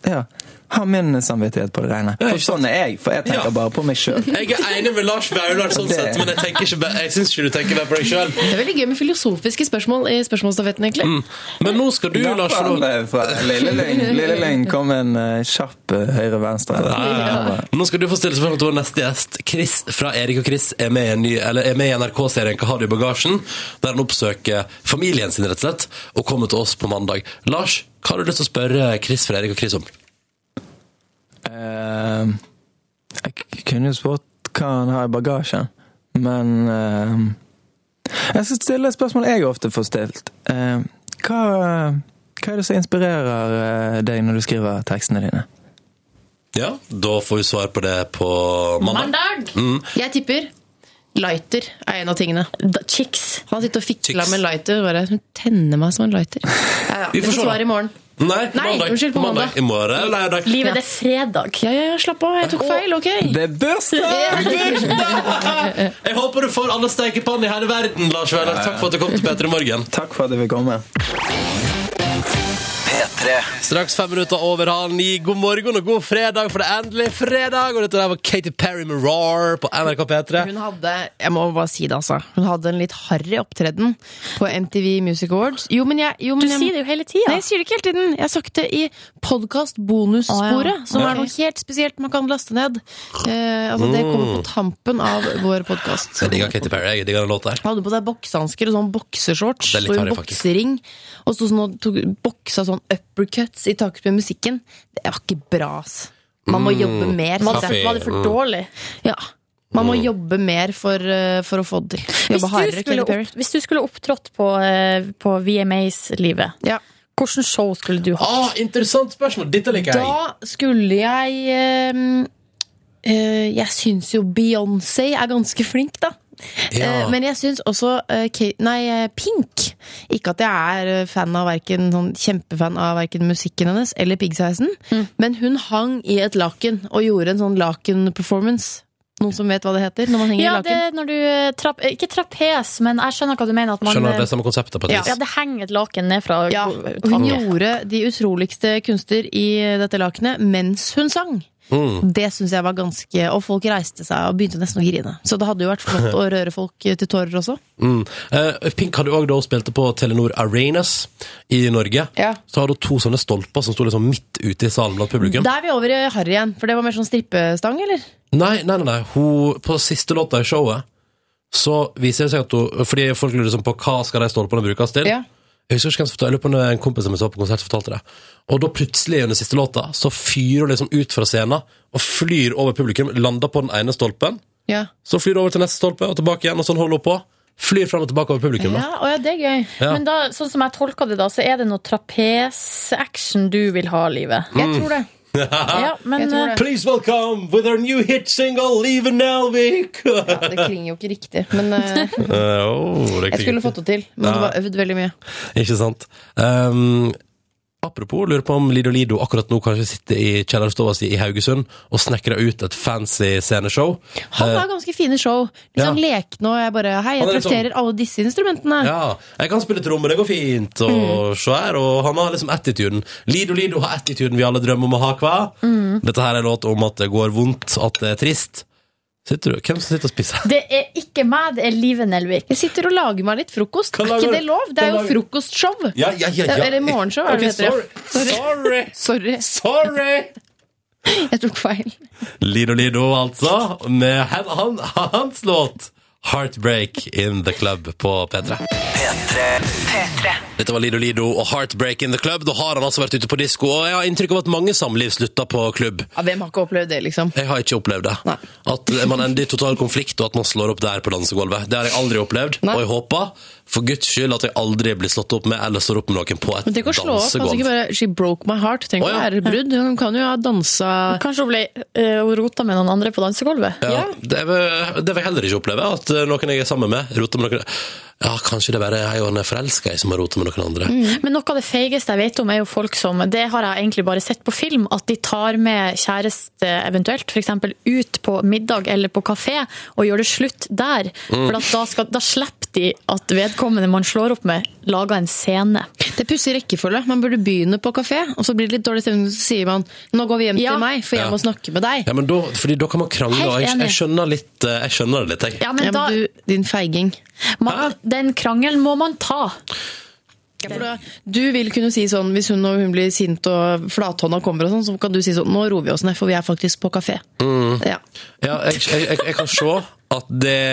Speaker 6: ja, ha min samvittighet på det rene. For sånn er jeg, for jeg tenker
Speaker 1: Ja.
Speaker 6: bare på
Speaker 1: <laughs>
Speaker 6: meg sjøl.
Speaker 1: Jeg er enig med Lars Vaular, sånn
Speaker 6: Det-
Speaker 1: sett, men jeg, tenker ikke, jeg syns ikke du tenker mer på deg sjøl.
Speaker 3: Det er veldig gøy med filosofiske spørsmål i spørsmålsstafetten, egentlig.
Speaker 1: Men nå skal du, Lars, få lov
Speaker 6: eh, Lille Lyng Lille Lyng kom en eh, kjapp eh, høyre-venstre.
Speaker 1: Ja. Nå skal du få stille spørsmål til vår neste gjest. Chris fra Erik og Chris er med i, en ny- eller er med i NRK-serien Hva har du i bagasjen? Der han oppsøker familien sin, rett og slett, og kommer til oss på mandag. Lars, hva har du lyst til å spørre Chris fra Erik og Chris om?
Speaker 6: Eh, jeg k- kunne jo spurt hva han har i bagasjen, men eh, Jeg skal stille et spørsmål jeg ofte får stilt. Eh, hva, hva er det som inspirerer eh, deg når du skriver tekstene dine?
Speaker 1: Ja, da får vi svar på det på mandag.
Speaker 2: Mandag!
Speaker 3: Jeg tipper lighter er en av tingene.
Speaker 2: Da- Chicks.
Speaker 3: Han sitter og fikla
Speaker 1: Chicks.
Speaker 3: med lighter. og Bare hun tenner meg som en lighter. Ja, ja.
Speaker 1: Vi får se,
Speaker 3: Vi får
Speaker 1: da.
Speaker 3: svar i morgen.
Speaker 1: Nei,
Speaker 3: Nei,
Speaker 1: mandag.
Speaker 3: unnskyld, på mandag.
Speaker 1: I morgen, lørdag.
Speaker 2: Livet, det er fredag.
Speaker 3: Ja, ja, ja, slapp av. Jeg tok feil, ok?
Speaker 6: Det er bursdag!
Speaker 1: Jeg håper du får alle stekepanner i hele verden, Lars Vaular. Takk for at du kom til P3 Morgen.
Speaker 6: Takk for at du vil komme.
Speaker 5: P3.
Speaker 1: Straks fem minutter over halv ni. God morgen og god fredag, for det er endelig fredag! Og dette der var Katy Perry med Roar på NRK P3.
Speaker 3: <laughs> Hun hadde jeg må bare si det altså Hun hadde en litt harry opptreden på MTV Music Awards. Jo, men jeg, jo,
Speaker 2: Du
Speaker 3: men jeg,
Speaker 2: sier det jo hele tida.
Speaker 3: Nei, jeg sier det ikke hele tiden. Jeg har sagt det i podkast-bonussporet,
Speaker 2: Å, ja.
Speaker 3: som
Speaker 2: Ja.
Speaker 3: er noe helt spesielt man kan laste ned. Eh, altså, Det kommer
Speaker 1: Mm.
Speaker 3: på tampen av vår podkast.
Speaker 1: Jeg digger Katy Perry. Jeg digger den låta her.
Speaker 3: Hadde på seg boksehansker og sånn boksershorts
Speaker 1: Det er litt
Speaker 3: og en
Speaker 1: harry, faktisk.
Speaker 3: boksering. Og sto sånn og tok, boksa sånn uppercuts i taket med musikken. Det var ikke bra, ass. Man
Speaker 1: Mm.
Speaker 3: må jobbe mer.
Speaker 2: Var
Speaker 3: synes
Speaker 2: det,
Speaker 1: Kaffe.
Speaker 3: jeg.
Speaker 2: var det for dårlig?
Speaker 3: Ja. Man må
Speaker 1: Mm.
Speaker 3: jobbe mer for, eh, for å få det til.
Speaker 2: Hvis
Speaker 3: Jobbe
Speaker 2: du
Speaker 3: hardere,
Speaker 2: skulle,
Speaker 3: Katy Perry.
Speaker 2: opp, hvis du skulle opptrådt på, eh, på VMAs-livet,
Speaker 3: Ja.
Speaker 2: hvilken show skulle du ha?
Speaker 1: Ah, interessant spørsmål! Dette liker jeg.
Speaker 3: Da skulle jeg eh, eh, Jeg syns jo Beyoncé er ganske flink, da.
Speaker 1: Ja.
Speaker 3: Eh, Men jeg syns også eh, Ka- Nei, eh, Pink. Ikke at jeg er eh, fan av hverken, sånn kjempefan av verken musikken hennes eller piggsveisen,
Speaker 2: Mm.
Speaker 3: men hun hang i et laken og gjorde en sånn laken-performance. Noen som vet hva det heter når man henger
Speaker 2: Ja,
Speaker 3: i
Speaker 2: det
Speaker 3: laken?
Speaker 2: er når du eh, trap, eh, Ikke trapes, men jeg skjønner hva du mener. At man,
Speaker 1: Skjønner du, det er
Speaker 2: eh,
Speaker 1: samme konseptet på et
Speaker 3: Ja.
Speaker 1: vis.
Speaker 2: ja, det henger et laken ned fra
Speaker 3: Ja,
Speaker 2: taket.
Speaker 3: og hun gjorde de utroligste kunster i dette lakenet mens hun sang.
Speaker 1: Mm.
Speaker 3: Det syns jeg var ganske Og folk reiste seg og begynte nesten å grine. Så det hadde jo vært flott å røre folk til tårer også.
Speaker 1: Mm. Eh, Pink hadde òg da hun spilte på Telenor Arenas i Norge.
Speaker 3: Ja.
Speaker 1: Så hadde hun to sånne stolper som sto liksom midt ute i salen blant publikum.
Speaker 3: Da er vi over i harry igjen, for det var mer sånn strippestang, eller?
Speaker 1: Nei, nei, nei, nei. Hun, på siste låta i showet så viser det seg at hun Fordi folk lurer sånn på hva skal de stolpene brukes til.
Speaker 3: Ja.
Speaker 1: Jeg husker ikke hvem som fortalte, jeg lurer på om det var en kompis som jeg så på konsert fortalte det. Og da plutselig under siste låta så fyrer hun liksom ut fra scenen og flyr over publikum, lander på den ene stolpen,
Speaker 3: Ja.
Speaker 1: så flyr hun over til neste stolpe og tilbake igjen, og sånn holder hun på. Flyr fram og tilbake over publikum.
Speaker 2: Ja,
Speaker 1: Da.
Speaker 2: å ja, det er gøy.
Speaker 1: Ja.
Speaker 2: Men da, sånn som jeg tolker det, da, så er det noe trapes-action du vil ha, livet.
Speaker 1: Mm.
Speaker 2: Jeg tror det. Ja, men
Speaker 3: Jeg tror det.
Speaker 2: eh,
Speaker 1: Please welcome with her new hit single Leave Nelvik!
Speaker 3: ja, det klinger jo ikke riktig,
Speaker 1: <laughs>
Speaker 3: men eh, jeg skulle fått det til. Men det var øvd veldig mye.
Speaker 1: Ikke sant? Ehm, apropos, lurer på om Lido Lido akkurat nå kanskje sitter i kjellerstua si i Haugesund og snekrer ut et fancy sceneshow.
Speaker 3: Han har ganske fine show. Litt
Speaker 1: Eh. Ja.
Speaker 3: sånn lekne og jeg bare Hei, jeg
Speaker 1: Han er litt sånn
Speaker 3: trakterer alle disse instrumentene.
Speaker 1: Ja, jeg kan spille trommer, det går fint,
Speaker 3: Mm.
Speaker 1: og så her, og han har liksom attituden. Lido Lido har attituden vi alle drømmer om å ha, hva?
Speaker 3: Mm.
Speaker 1: Dette her er låt om at det går vondt, at det er trist. Sitter du? Hvem som sitter og spiser?
Speaker 2: det er ikke meg, det er Livet Nelvik.
Speaker 3: Jeg sitter og lager meg litt frokost.
Speaker 1: Hva
Speaker 3: Er ikke
Speaker 1: lager-
Speaker 3: det lov? Det
Speaker 1: hva
Speaker 3: er jo
Speaker 1: lager-
Speaker 3: frokostshow.
Speaker 1: Ja, ja, ja, ja.
Speaker 3: Eller morgenshow, er det
Speaker 1: Ok,
Speaker 3: det heter.
Speaker 1: Sorry! Sorry!
Speaker 3: Sorry,
Speaker 1: sorry.
Speaker 3: jeg tok feil.
Speaker 1: Lido Lido, altså, med han, han, hans låt 'Heartbreak In The Club' på P3. Dette var Lido Lido og 'Heartbreak In The Club'. Da har han altså vært ute på disko, og jeg har inntrykk av at mange samliv slutta på klubb.
Speaker 3: Ja, Hvem har ikke opplevd det, liksom?
Speaker 1: Jeg har ikke opplevd det.
Speaker 3: Nei.
Speaker 1: At man ender i total konflikt, og at man slår opp der på dansegulvet. Det har jeg aldri opplevd,
Speaker 3: Nei.
Speaker 1: og jeg håper for guds skyld at jeg aldri blir slått opp med eller står opp med noen på et
Speaker 3: Men tenk å slå opp. Altså ikke
Speaker 1: dansegulv.
Speaker 3: bare 'she broke my heart'. Tenk
Speaker 1: Å,
Speaker 3: å
Speaker 1: ja.
Speaker 3: være brudd. Hun kan jo ha dansa
Speaker 2: Kanskje hun ble eh, hun rota med noen andre på dansegulvet?
Speaker 1: Ja, det, vil, det vil jeg heller ikke oppleve, at eh, noen jeg er sammen med, roter med noen Ja, kanskje det er bare jeg og han er forelska i som har rota med noen andre.
Speaker 2: Men noe av det feigeste jeg vet om, er jo folk som Det har jeg egentlig bare sett på film. At de tar med kjæreste, eventuelt, f.eks. ut på middag eller på kafé, og gjør det slutt der. For at da, skal, da slipper de at vedkommende man slår opp med, lager en scene.
Speaker 3: Det er pussig rekkefølge. Man burde begynne på kafé, og så blir det litt dårlig stemning, så sier man 'nå går vi hjem
Speaker 2: Ja.
Speaker 3: til meg, for jeg
Speaker 1: Ja.
Speaker 3: må snakke med deg'.
Speaker 1: Ja, men da, fordi da kan man krangle,
Speaker 2: Helt
Speaker 1: og jeg,
Speaker 2: enig.
Speaker 1: jeg, skjønner litt, eh, jeg skjønner det litt, jeg.
Speaker 2: Ja, men
Speaker 3: Ja, men
Speaker 2: da,
Speaker 3: du, din feiging.
Speaker 1: Hæ?
Speaker 2: man, Den krangelen må man ta.
Speaker 3: Ja, for da, du vil kunne si sånn, hvis hun, når hun blir sint og flathånda kommer og sånn, så kan du si sånn 'nå roer vi oss ned, for vi er faktisk på kafé'.
Speaker 1: Mm.
Speaker 3: Ja.
Speaker 1: Ja, jeg, jeg, jeg, jeg kan se at det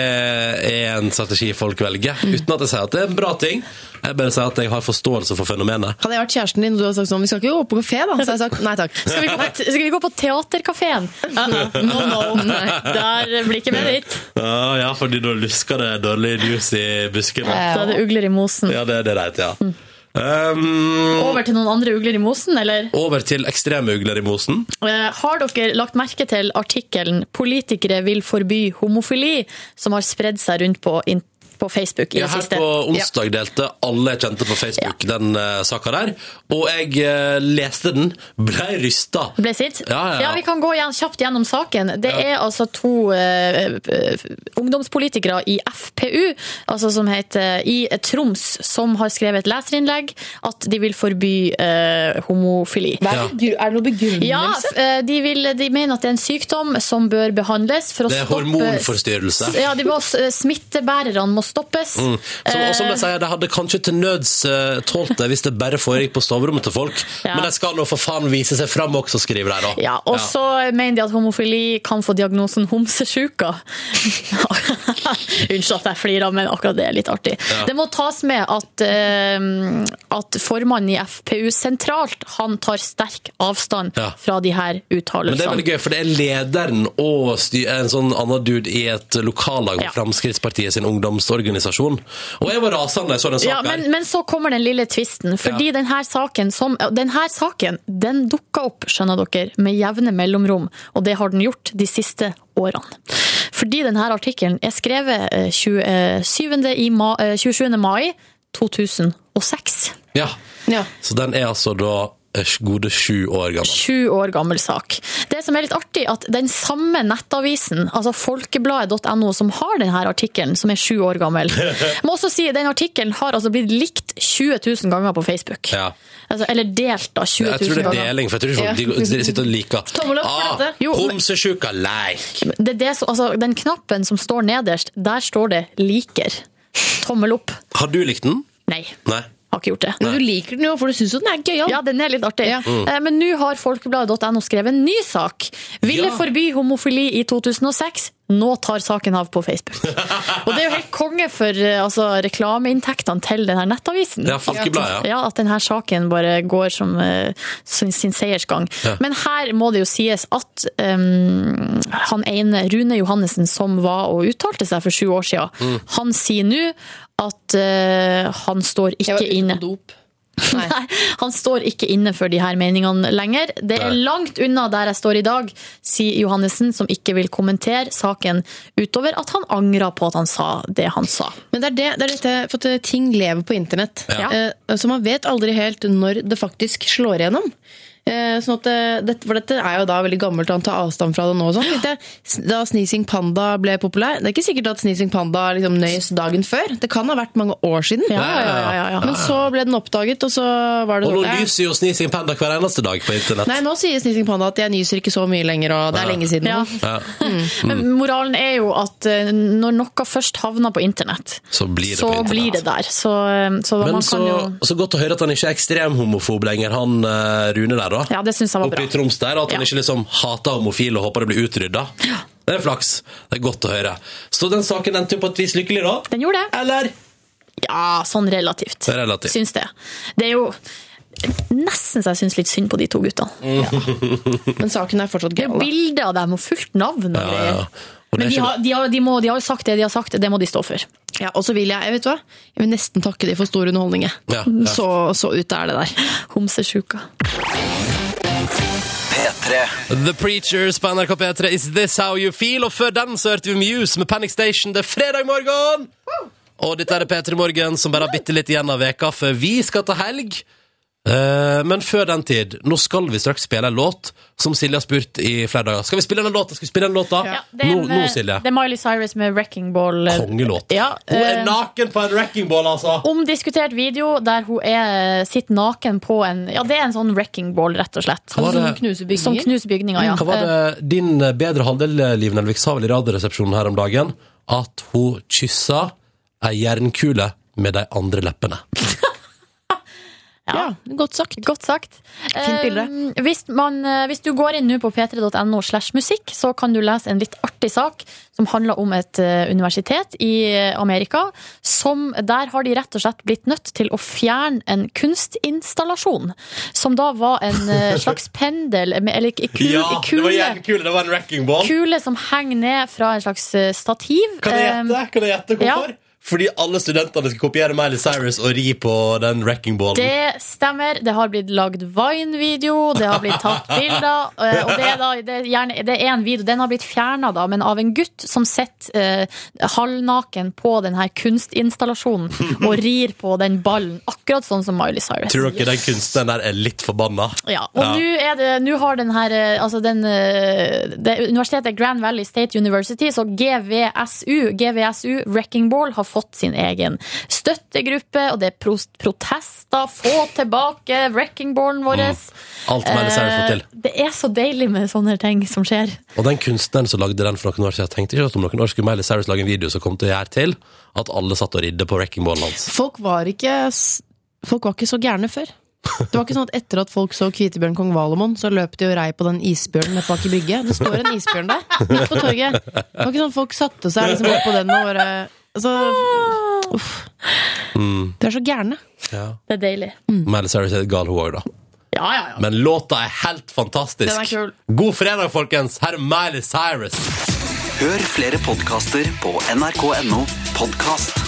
Speaker 1: er en strategi folk velger,
Speaker 2: Mm.
Speaker 1: uten at jeg sier at det er en bra ting. Jeg bare sier at jeg har forståelse for fenomenet.
Speaker 3: Hadde jeg vært kjæresten din og du hadde sagt sånn 'vi skal ikke gå på kafé', da, så hadde jeg sagt nei takk.
Speaker 2: Skal <laughs> vi gå på, skal vi gå på teaterkafeen? No, no. Der blir ikke med dit.
Speaker 1: Ja, ja, fordi da lusker det dårlig lus i buskene.
Speaker 2: Da er det ugler i mosen.
Speaker 1: Ja, det, det er rett, ja.
Speaker 2: Mm.
Speaker 1: Um,
Speaker 2: Over til noen andre ugler i mosen, eller?
Speaker 1: over til ekstreme ugler i mosen.
Speaker 2: Eh, Har dere lagt merke til artikkelen 'Politikere vil forby homofili', som har spredd seg rundt på, in- på Facebook i
Speaker 1: Ja,
Speaker 2: det
Speaker 1: her
Speaker 2: siste?
Speaker 1: på onsdag delte alle jeg kjente på Facebook den eh, saka der. Og jeg eh, leste den, blei rysta.
Speaker 2: Ble sint?
Speaker 1: Ja, ja, ja.
Speaker 2: Vi kan gå igjen, kjapt gjennom saken. Det er altså to eh, eh, ungdomspolitikere i FPU, altså som heter i Troms, som har skrevet et leserinnlegg at de vil forby eh, homofili.
Speaker 3: Hva Er, det gru- er det noe begrunnelse?
Speaker 2: Ja, f- eh, de, vil, de mener at det er en sykdom som bør behandles for å
Speaker 1: Det er
Speaker 2: stoppe
Speaker 1: hormonforstyrrelse. Mm.
Speaker 2: Ja, de må, eh, smittebærerne må stoppes.
Speaker 1: Som, og som jeg sier, De hadde kanskje til nøds eh, tålt det hvis det bare foregikk på soverommet til folk,
Speaker 2: Ja.
Speaker 1: men de skal nå for faen vise seg fram også, skriver de da.
Speaker 2: Ja, og så mener de at homofili kan få diagnosen
Speaker 1: <laughs>
Speaker 2: homsesjuka. Unnskyld at jeg flirer, men akkurat det er litt artig. Det må tas med at, eh, at formannen i FPU sentralt han tar sterk avstand
Speaker 1: Ja.
Speaker 2: fra de her
Speaker 1: Men det er
Speaker 2: uttalelsene.
Speaker 1: veldig gøy, for det er lederen og sty- en sånn annen dude i et lokallag på
Speaker 2: Ja.
Speaker 1: Fremskrittspartiet sin organisasjon. Og jeg var rasende da jeg så den
Speaker 2: Ja,
Speaker 1: saken. her.
Speaker 2: men, men så kommer den lille tvisten. Fordi
Speaker 1: Ja.
Speaker 2: denne saken, som, denne saken den dukka opp skjønner dere, med jevne mellomrom. Og det har den gjort de siste årene. Fordi denne artikkelen er skrevet eh, 27. I ma, eh, 27. mai 2006.
Speaker 1: Ja.
Speaker 3: Ja.
Speaker 1: Så den er altså da eh, gode sju år gammel.
Speaker 2: Sju år gammel sak. Det som er litt artig, at den samme nettavisen, altså folkebladet.no, som har denne artikkelen, som er sju år gammel, må også si at den artikkelen har altså blitt likt 20 000 ganger på Facebook.
Speaker 1: Ja.
Speaker 2: Altså, eller delt, da. 20
Speaker 1: Jeg
Speaker 2: 000
Speaker 1: tror det er
Speaker 2: ganger.
Speaker 1: deling, for jeg tror ikke folk de, de sitter og liker Ah,
Speaker 3: Tommel opp for dette.
Speaker 2: Jo, men-
Speaker 1: Homsesjuka leik!
Speaker 2: Det er det som, altså, den knappen som står nederst, der står det 'liker'. Tommel opp.
Speaker 1: Har du likt den?
Speaker 2: Nei,
Speaker 1: Nei.
Speaker 2: har ikke gjort det.
Speaker 3: Men du liker den jo, for du syns jo den er gøyal.
Speaker 2: Ja, den er litt artig.
Speaker 3: Ja.
Speaker 2: Eh, Men nå har folkebladet.no skrevet en ny sak. Ville
Speaker 1: Ja.
Speaker 2: forby homofili i 2006. Nå tar saken av på
Speaker 1: <laughs>
Speaker 2: Facebook. Og det er jo helt konge for eh, altså, reklameinntektene til denne nettavisen.
Speaker 1: Ja, Folkebladet,
Speaker 2: At, ja, at denne saken bare går som eh, sin, sin seiersgang. Men her må det jo sies at em, han ene, Rune Johannessen, som var og uttalte seg for sju år siden,
Speaker 1: Mm.
Speaker 2: han sier nå at eh, han står
Speaker 3: Jeg var
Speaker 2: ikke
Speaker 3: ute på
Speaker 2: inne.
Speaker 3: dop.
Speaker 2: <laughs> Nei, han står ikke inne for de her meningene lenger. Det er
Speaker 1: Nei.
Speaker 2: langt unna der jeg står i dag, sier Johannessen, som ikke vil kommentere saken utover at han angrer på at han sa det han sa.
Speaker 3: Men det er det, det er dette, for at ting lever på internett.
Speaker 1: Ja.
Speaker 3: Eh, Så man vet aldri helt når det faktisk slår igjennom. Eh, Sånn at eh, dette, for dette er jo da veldig gammelt, og han tar avstand fra det nå. og Sånn. Tenkte jeg, s- Da Sneezing Panda ble populær Det er ikke sikkert at Sneezing Panda liksom nøys dagen før. Det kan ha vært mange år siden.
Speaker 2: Ja, ja, ja, ja, ja.
Speaker 3: Men så ble den oppdaget, og så var det
Speaker 1: Og nå
Speaker 3: sånn, eh,
Speaker 1: lyser jo Snising Panda hver eneste dag på internett.
Speaker 3: Nei, nå sier Sneezing Panda at jeg nyser ikke så mye lenger, og det er lenge siden.
Speaker 2: Ja.
Speaker 1: Ja,
Speaker 2: Men
Speaker 1: Mm.
Speaker 2: moralen er jo at eh, når noe først havner på internett,
Speaker 1: så blir det
Speaker 2: så
Speaker 1: på internett.
Speaker 2: blir det der. Så, eh, så
Speaker 1: Men
Speaker 2: man
Speaker 1: så,
Speaker 2: kan jo
Speaker 1: så godt å høre at han ikke er ekstremhomofob lenger, han eh, Rune der, da.
Speaker 2: Ja, det synes jeg var
Speaker 1: Oppe i
Speaker 2: bra.
Speaker 1: Troms der. At han
Speaker 2: Ja.
Speaker 1: ikke liksom hater homofile og håper det blir utrydda. Det er flaks. Det er godt å høre. Så den saken endte jo på et vis lykkelig, da?
Speaker 2: Den gjorde det.
Speaker 1: Eller?
Speaker 2: Ja, sånn relativt.
Speaker 1: Det er relativt.
Speaker 2: Syns det. Det er jo nesten så jeg syns litt synd på de to guttene.
Speaker 1: Mm.
Speaker 3: Men saken er fortsatt
Speaker 2: Det er
Speaker 3: gøy.
Speaker 2: jo bilde av dem og fullt navn og
Speaker 1: Ja, ja,
Speaker 2: greier.
Speaker 1: ja. Og det
Speaker 2: Men
Speaker 1: er
Speaker 2: de
Speaker 1: ikke-
Speaker 2: har, de, har, de, må, de har jo sagt det de har sagt, det må de stå for.
Speaker 3: Ja, og så vil jeg, jeg vet du hva? Jeg vil nesten takke de for stor underholdning. jeg.
Speaker 1: Ja, ja.
Speaker 3: Så, så ute er det der.
Speaker 2: Homsesjuka.
Speaker 5: P3.
Speaker 1: The Preachers på NRK P3 Is This How You Feel? Og før den så hørte vi Muse med Panic Station. Det er fredag morgen! Og dette er P3 Morgen som bare har bitte litt igjen av veka, for vi skal ta helg. Eh, men før den tid, nå skal vi straks spille en låt som Silje har spurt i flere dager. Skal vi spille den låta? Skal vi spille den låta?
Speaker 2: det, er
Speaker 1: nå,
Speaker 2: en, eh,
Speaker 1: nå, Silje.
Speaker 2: det er Miley Cyrus med 'Wrecking Ball'. eh,
Speaker 1: Kongelåt.
Speaker 2: Ja,
Speaker 1: Hun er
Speaker 2: eh,
Speaker 1: naken på en wrecking ball, altså!
Speaker 2: Omdiskutert video der hun er, eh, sitter naken på en Ja, det er en sånn wrecking ball, rett og slett.
Speaker 1: Hva var det-
Speaker 3: Som knuser bygninger.
Speaker 2: Som knuser bygninger, ja. Eh,
Speaker 1: Hva var det din bedre halvdel, Liv Nelvik, sa vel i Radioresepsjonen her om dagen? At hun kyssa ei jernkule med de andre leppene.
Speaker 3: Ja, godt sagt.
Speaker 2: Godt sagt.
Speaker 3: Fint bilde.
Speaker 2: Eh, hvis, man, eh, hvis du går inn nå på p3.no slash musikk, så kan du lese en litt artig sak som handler om et eh, universitet i eh, Amerika. Som, der har de rett og slett blitt nødt til å fjerne en kunstinstallasjon. Som da var en eh, slags pendel, eh, eller k- kul, kule,
Speaker 1: jernkule, det var en wrecking ball.
Speaker 2: kule som henger ned fra en slags eh, stativ. Ehm,
Speaker 1: Kan jeg gjette? Kan jeg gjette hvorfor?
Speaker 2: eh, ja.
Speaker 1: Fordi alle studentene skal kopiere Miley Cyrus og ri på den wrecking ballen.
Speaker 2: Det stemmer. Det har blitt lagd Vine-video, det har blitt tatt bilder. eh, Og det er, da, det er, gjerne, det er en video, den har blitt fjerna, da, men av en gutt som sitter eh, halvnaken på den her kunstinstallasjonen og rir på den ballen, akkurat sånn som Miley Cyrus.
Speaker 1: Tror dere den kunstneren der er litt forbanna?
Speaker 2: Ja, og
Speaker 1: Ja.
Speaker 2: nå er det Nå har den her eh, Altså den eh, det, Universitetet Grand Valley State University Så GVSU GVSU Wrecking Ball har fått sin egen støttegruppe Og det er pros- protester Få tilbake Wrecking Ballen vår
Speaker 1: Mm. Alt Miley Cyrus får til.
Speaker 2: Eh, Det er så deilig med sånne ting som skjer
Speaker 1: Og den kunstneren som lagde den for noen år siden, tenkte ikke at om noen år skulle Miley Cyrus lage en video som kom til å gjøre til at alle satt og ridde på wrecking ballen hans.
Speaker 3: Folk var ikke, s- folk var ikke så gærne før. Det var ikke sånn at Etter at folk så Kvitebjørn kong Valemon, så løp de og rei på den isbjørnen nede bak i brygge. Det står en isbjørn der, midt på torget. Det var ikke sånn at folk satte seg liksom opp på den og bare altså, Uff. De er så gærne.
Speaker 2: Det er deilig
Speaker 1: Miley Cyrus er gal hun òg, da.
Speaker 2: Mm. Ja, ja, ja
Speaker 1: Men låta er helt fantastisk.
Speaker 3: Den er kul.
Speaker 1: God fredag, folkens! Her er Miley Cyrus.
Speaker 5: Hør flere podkaster på nrk.no podkast.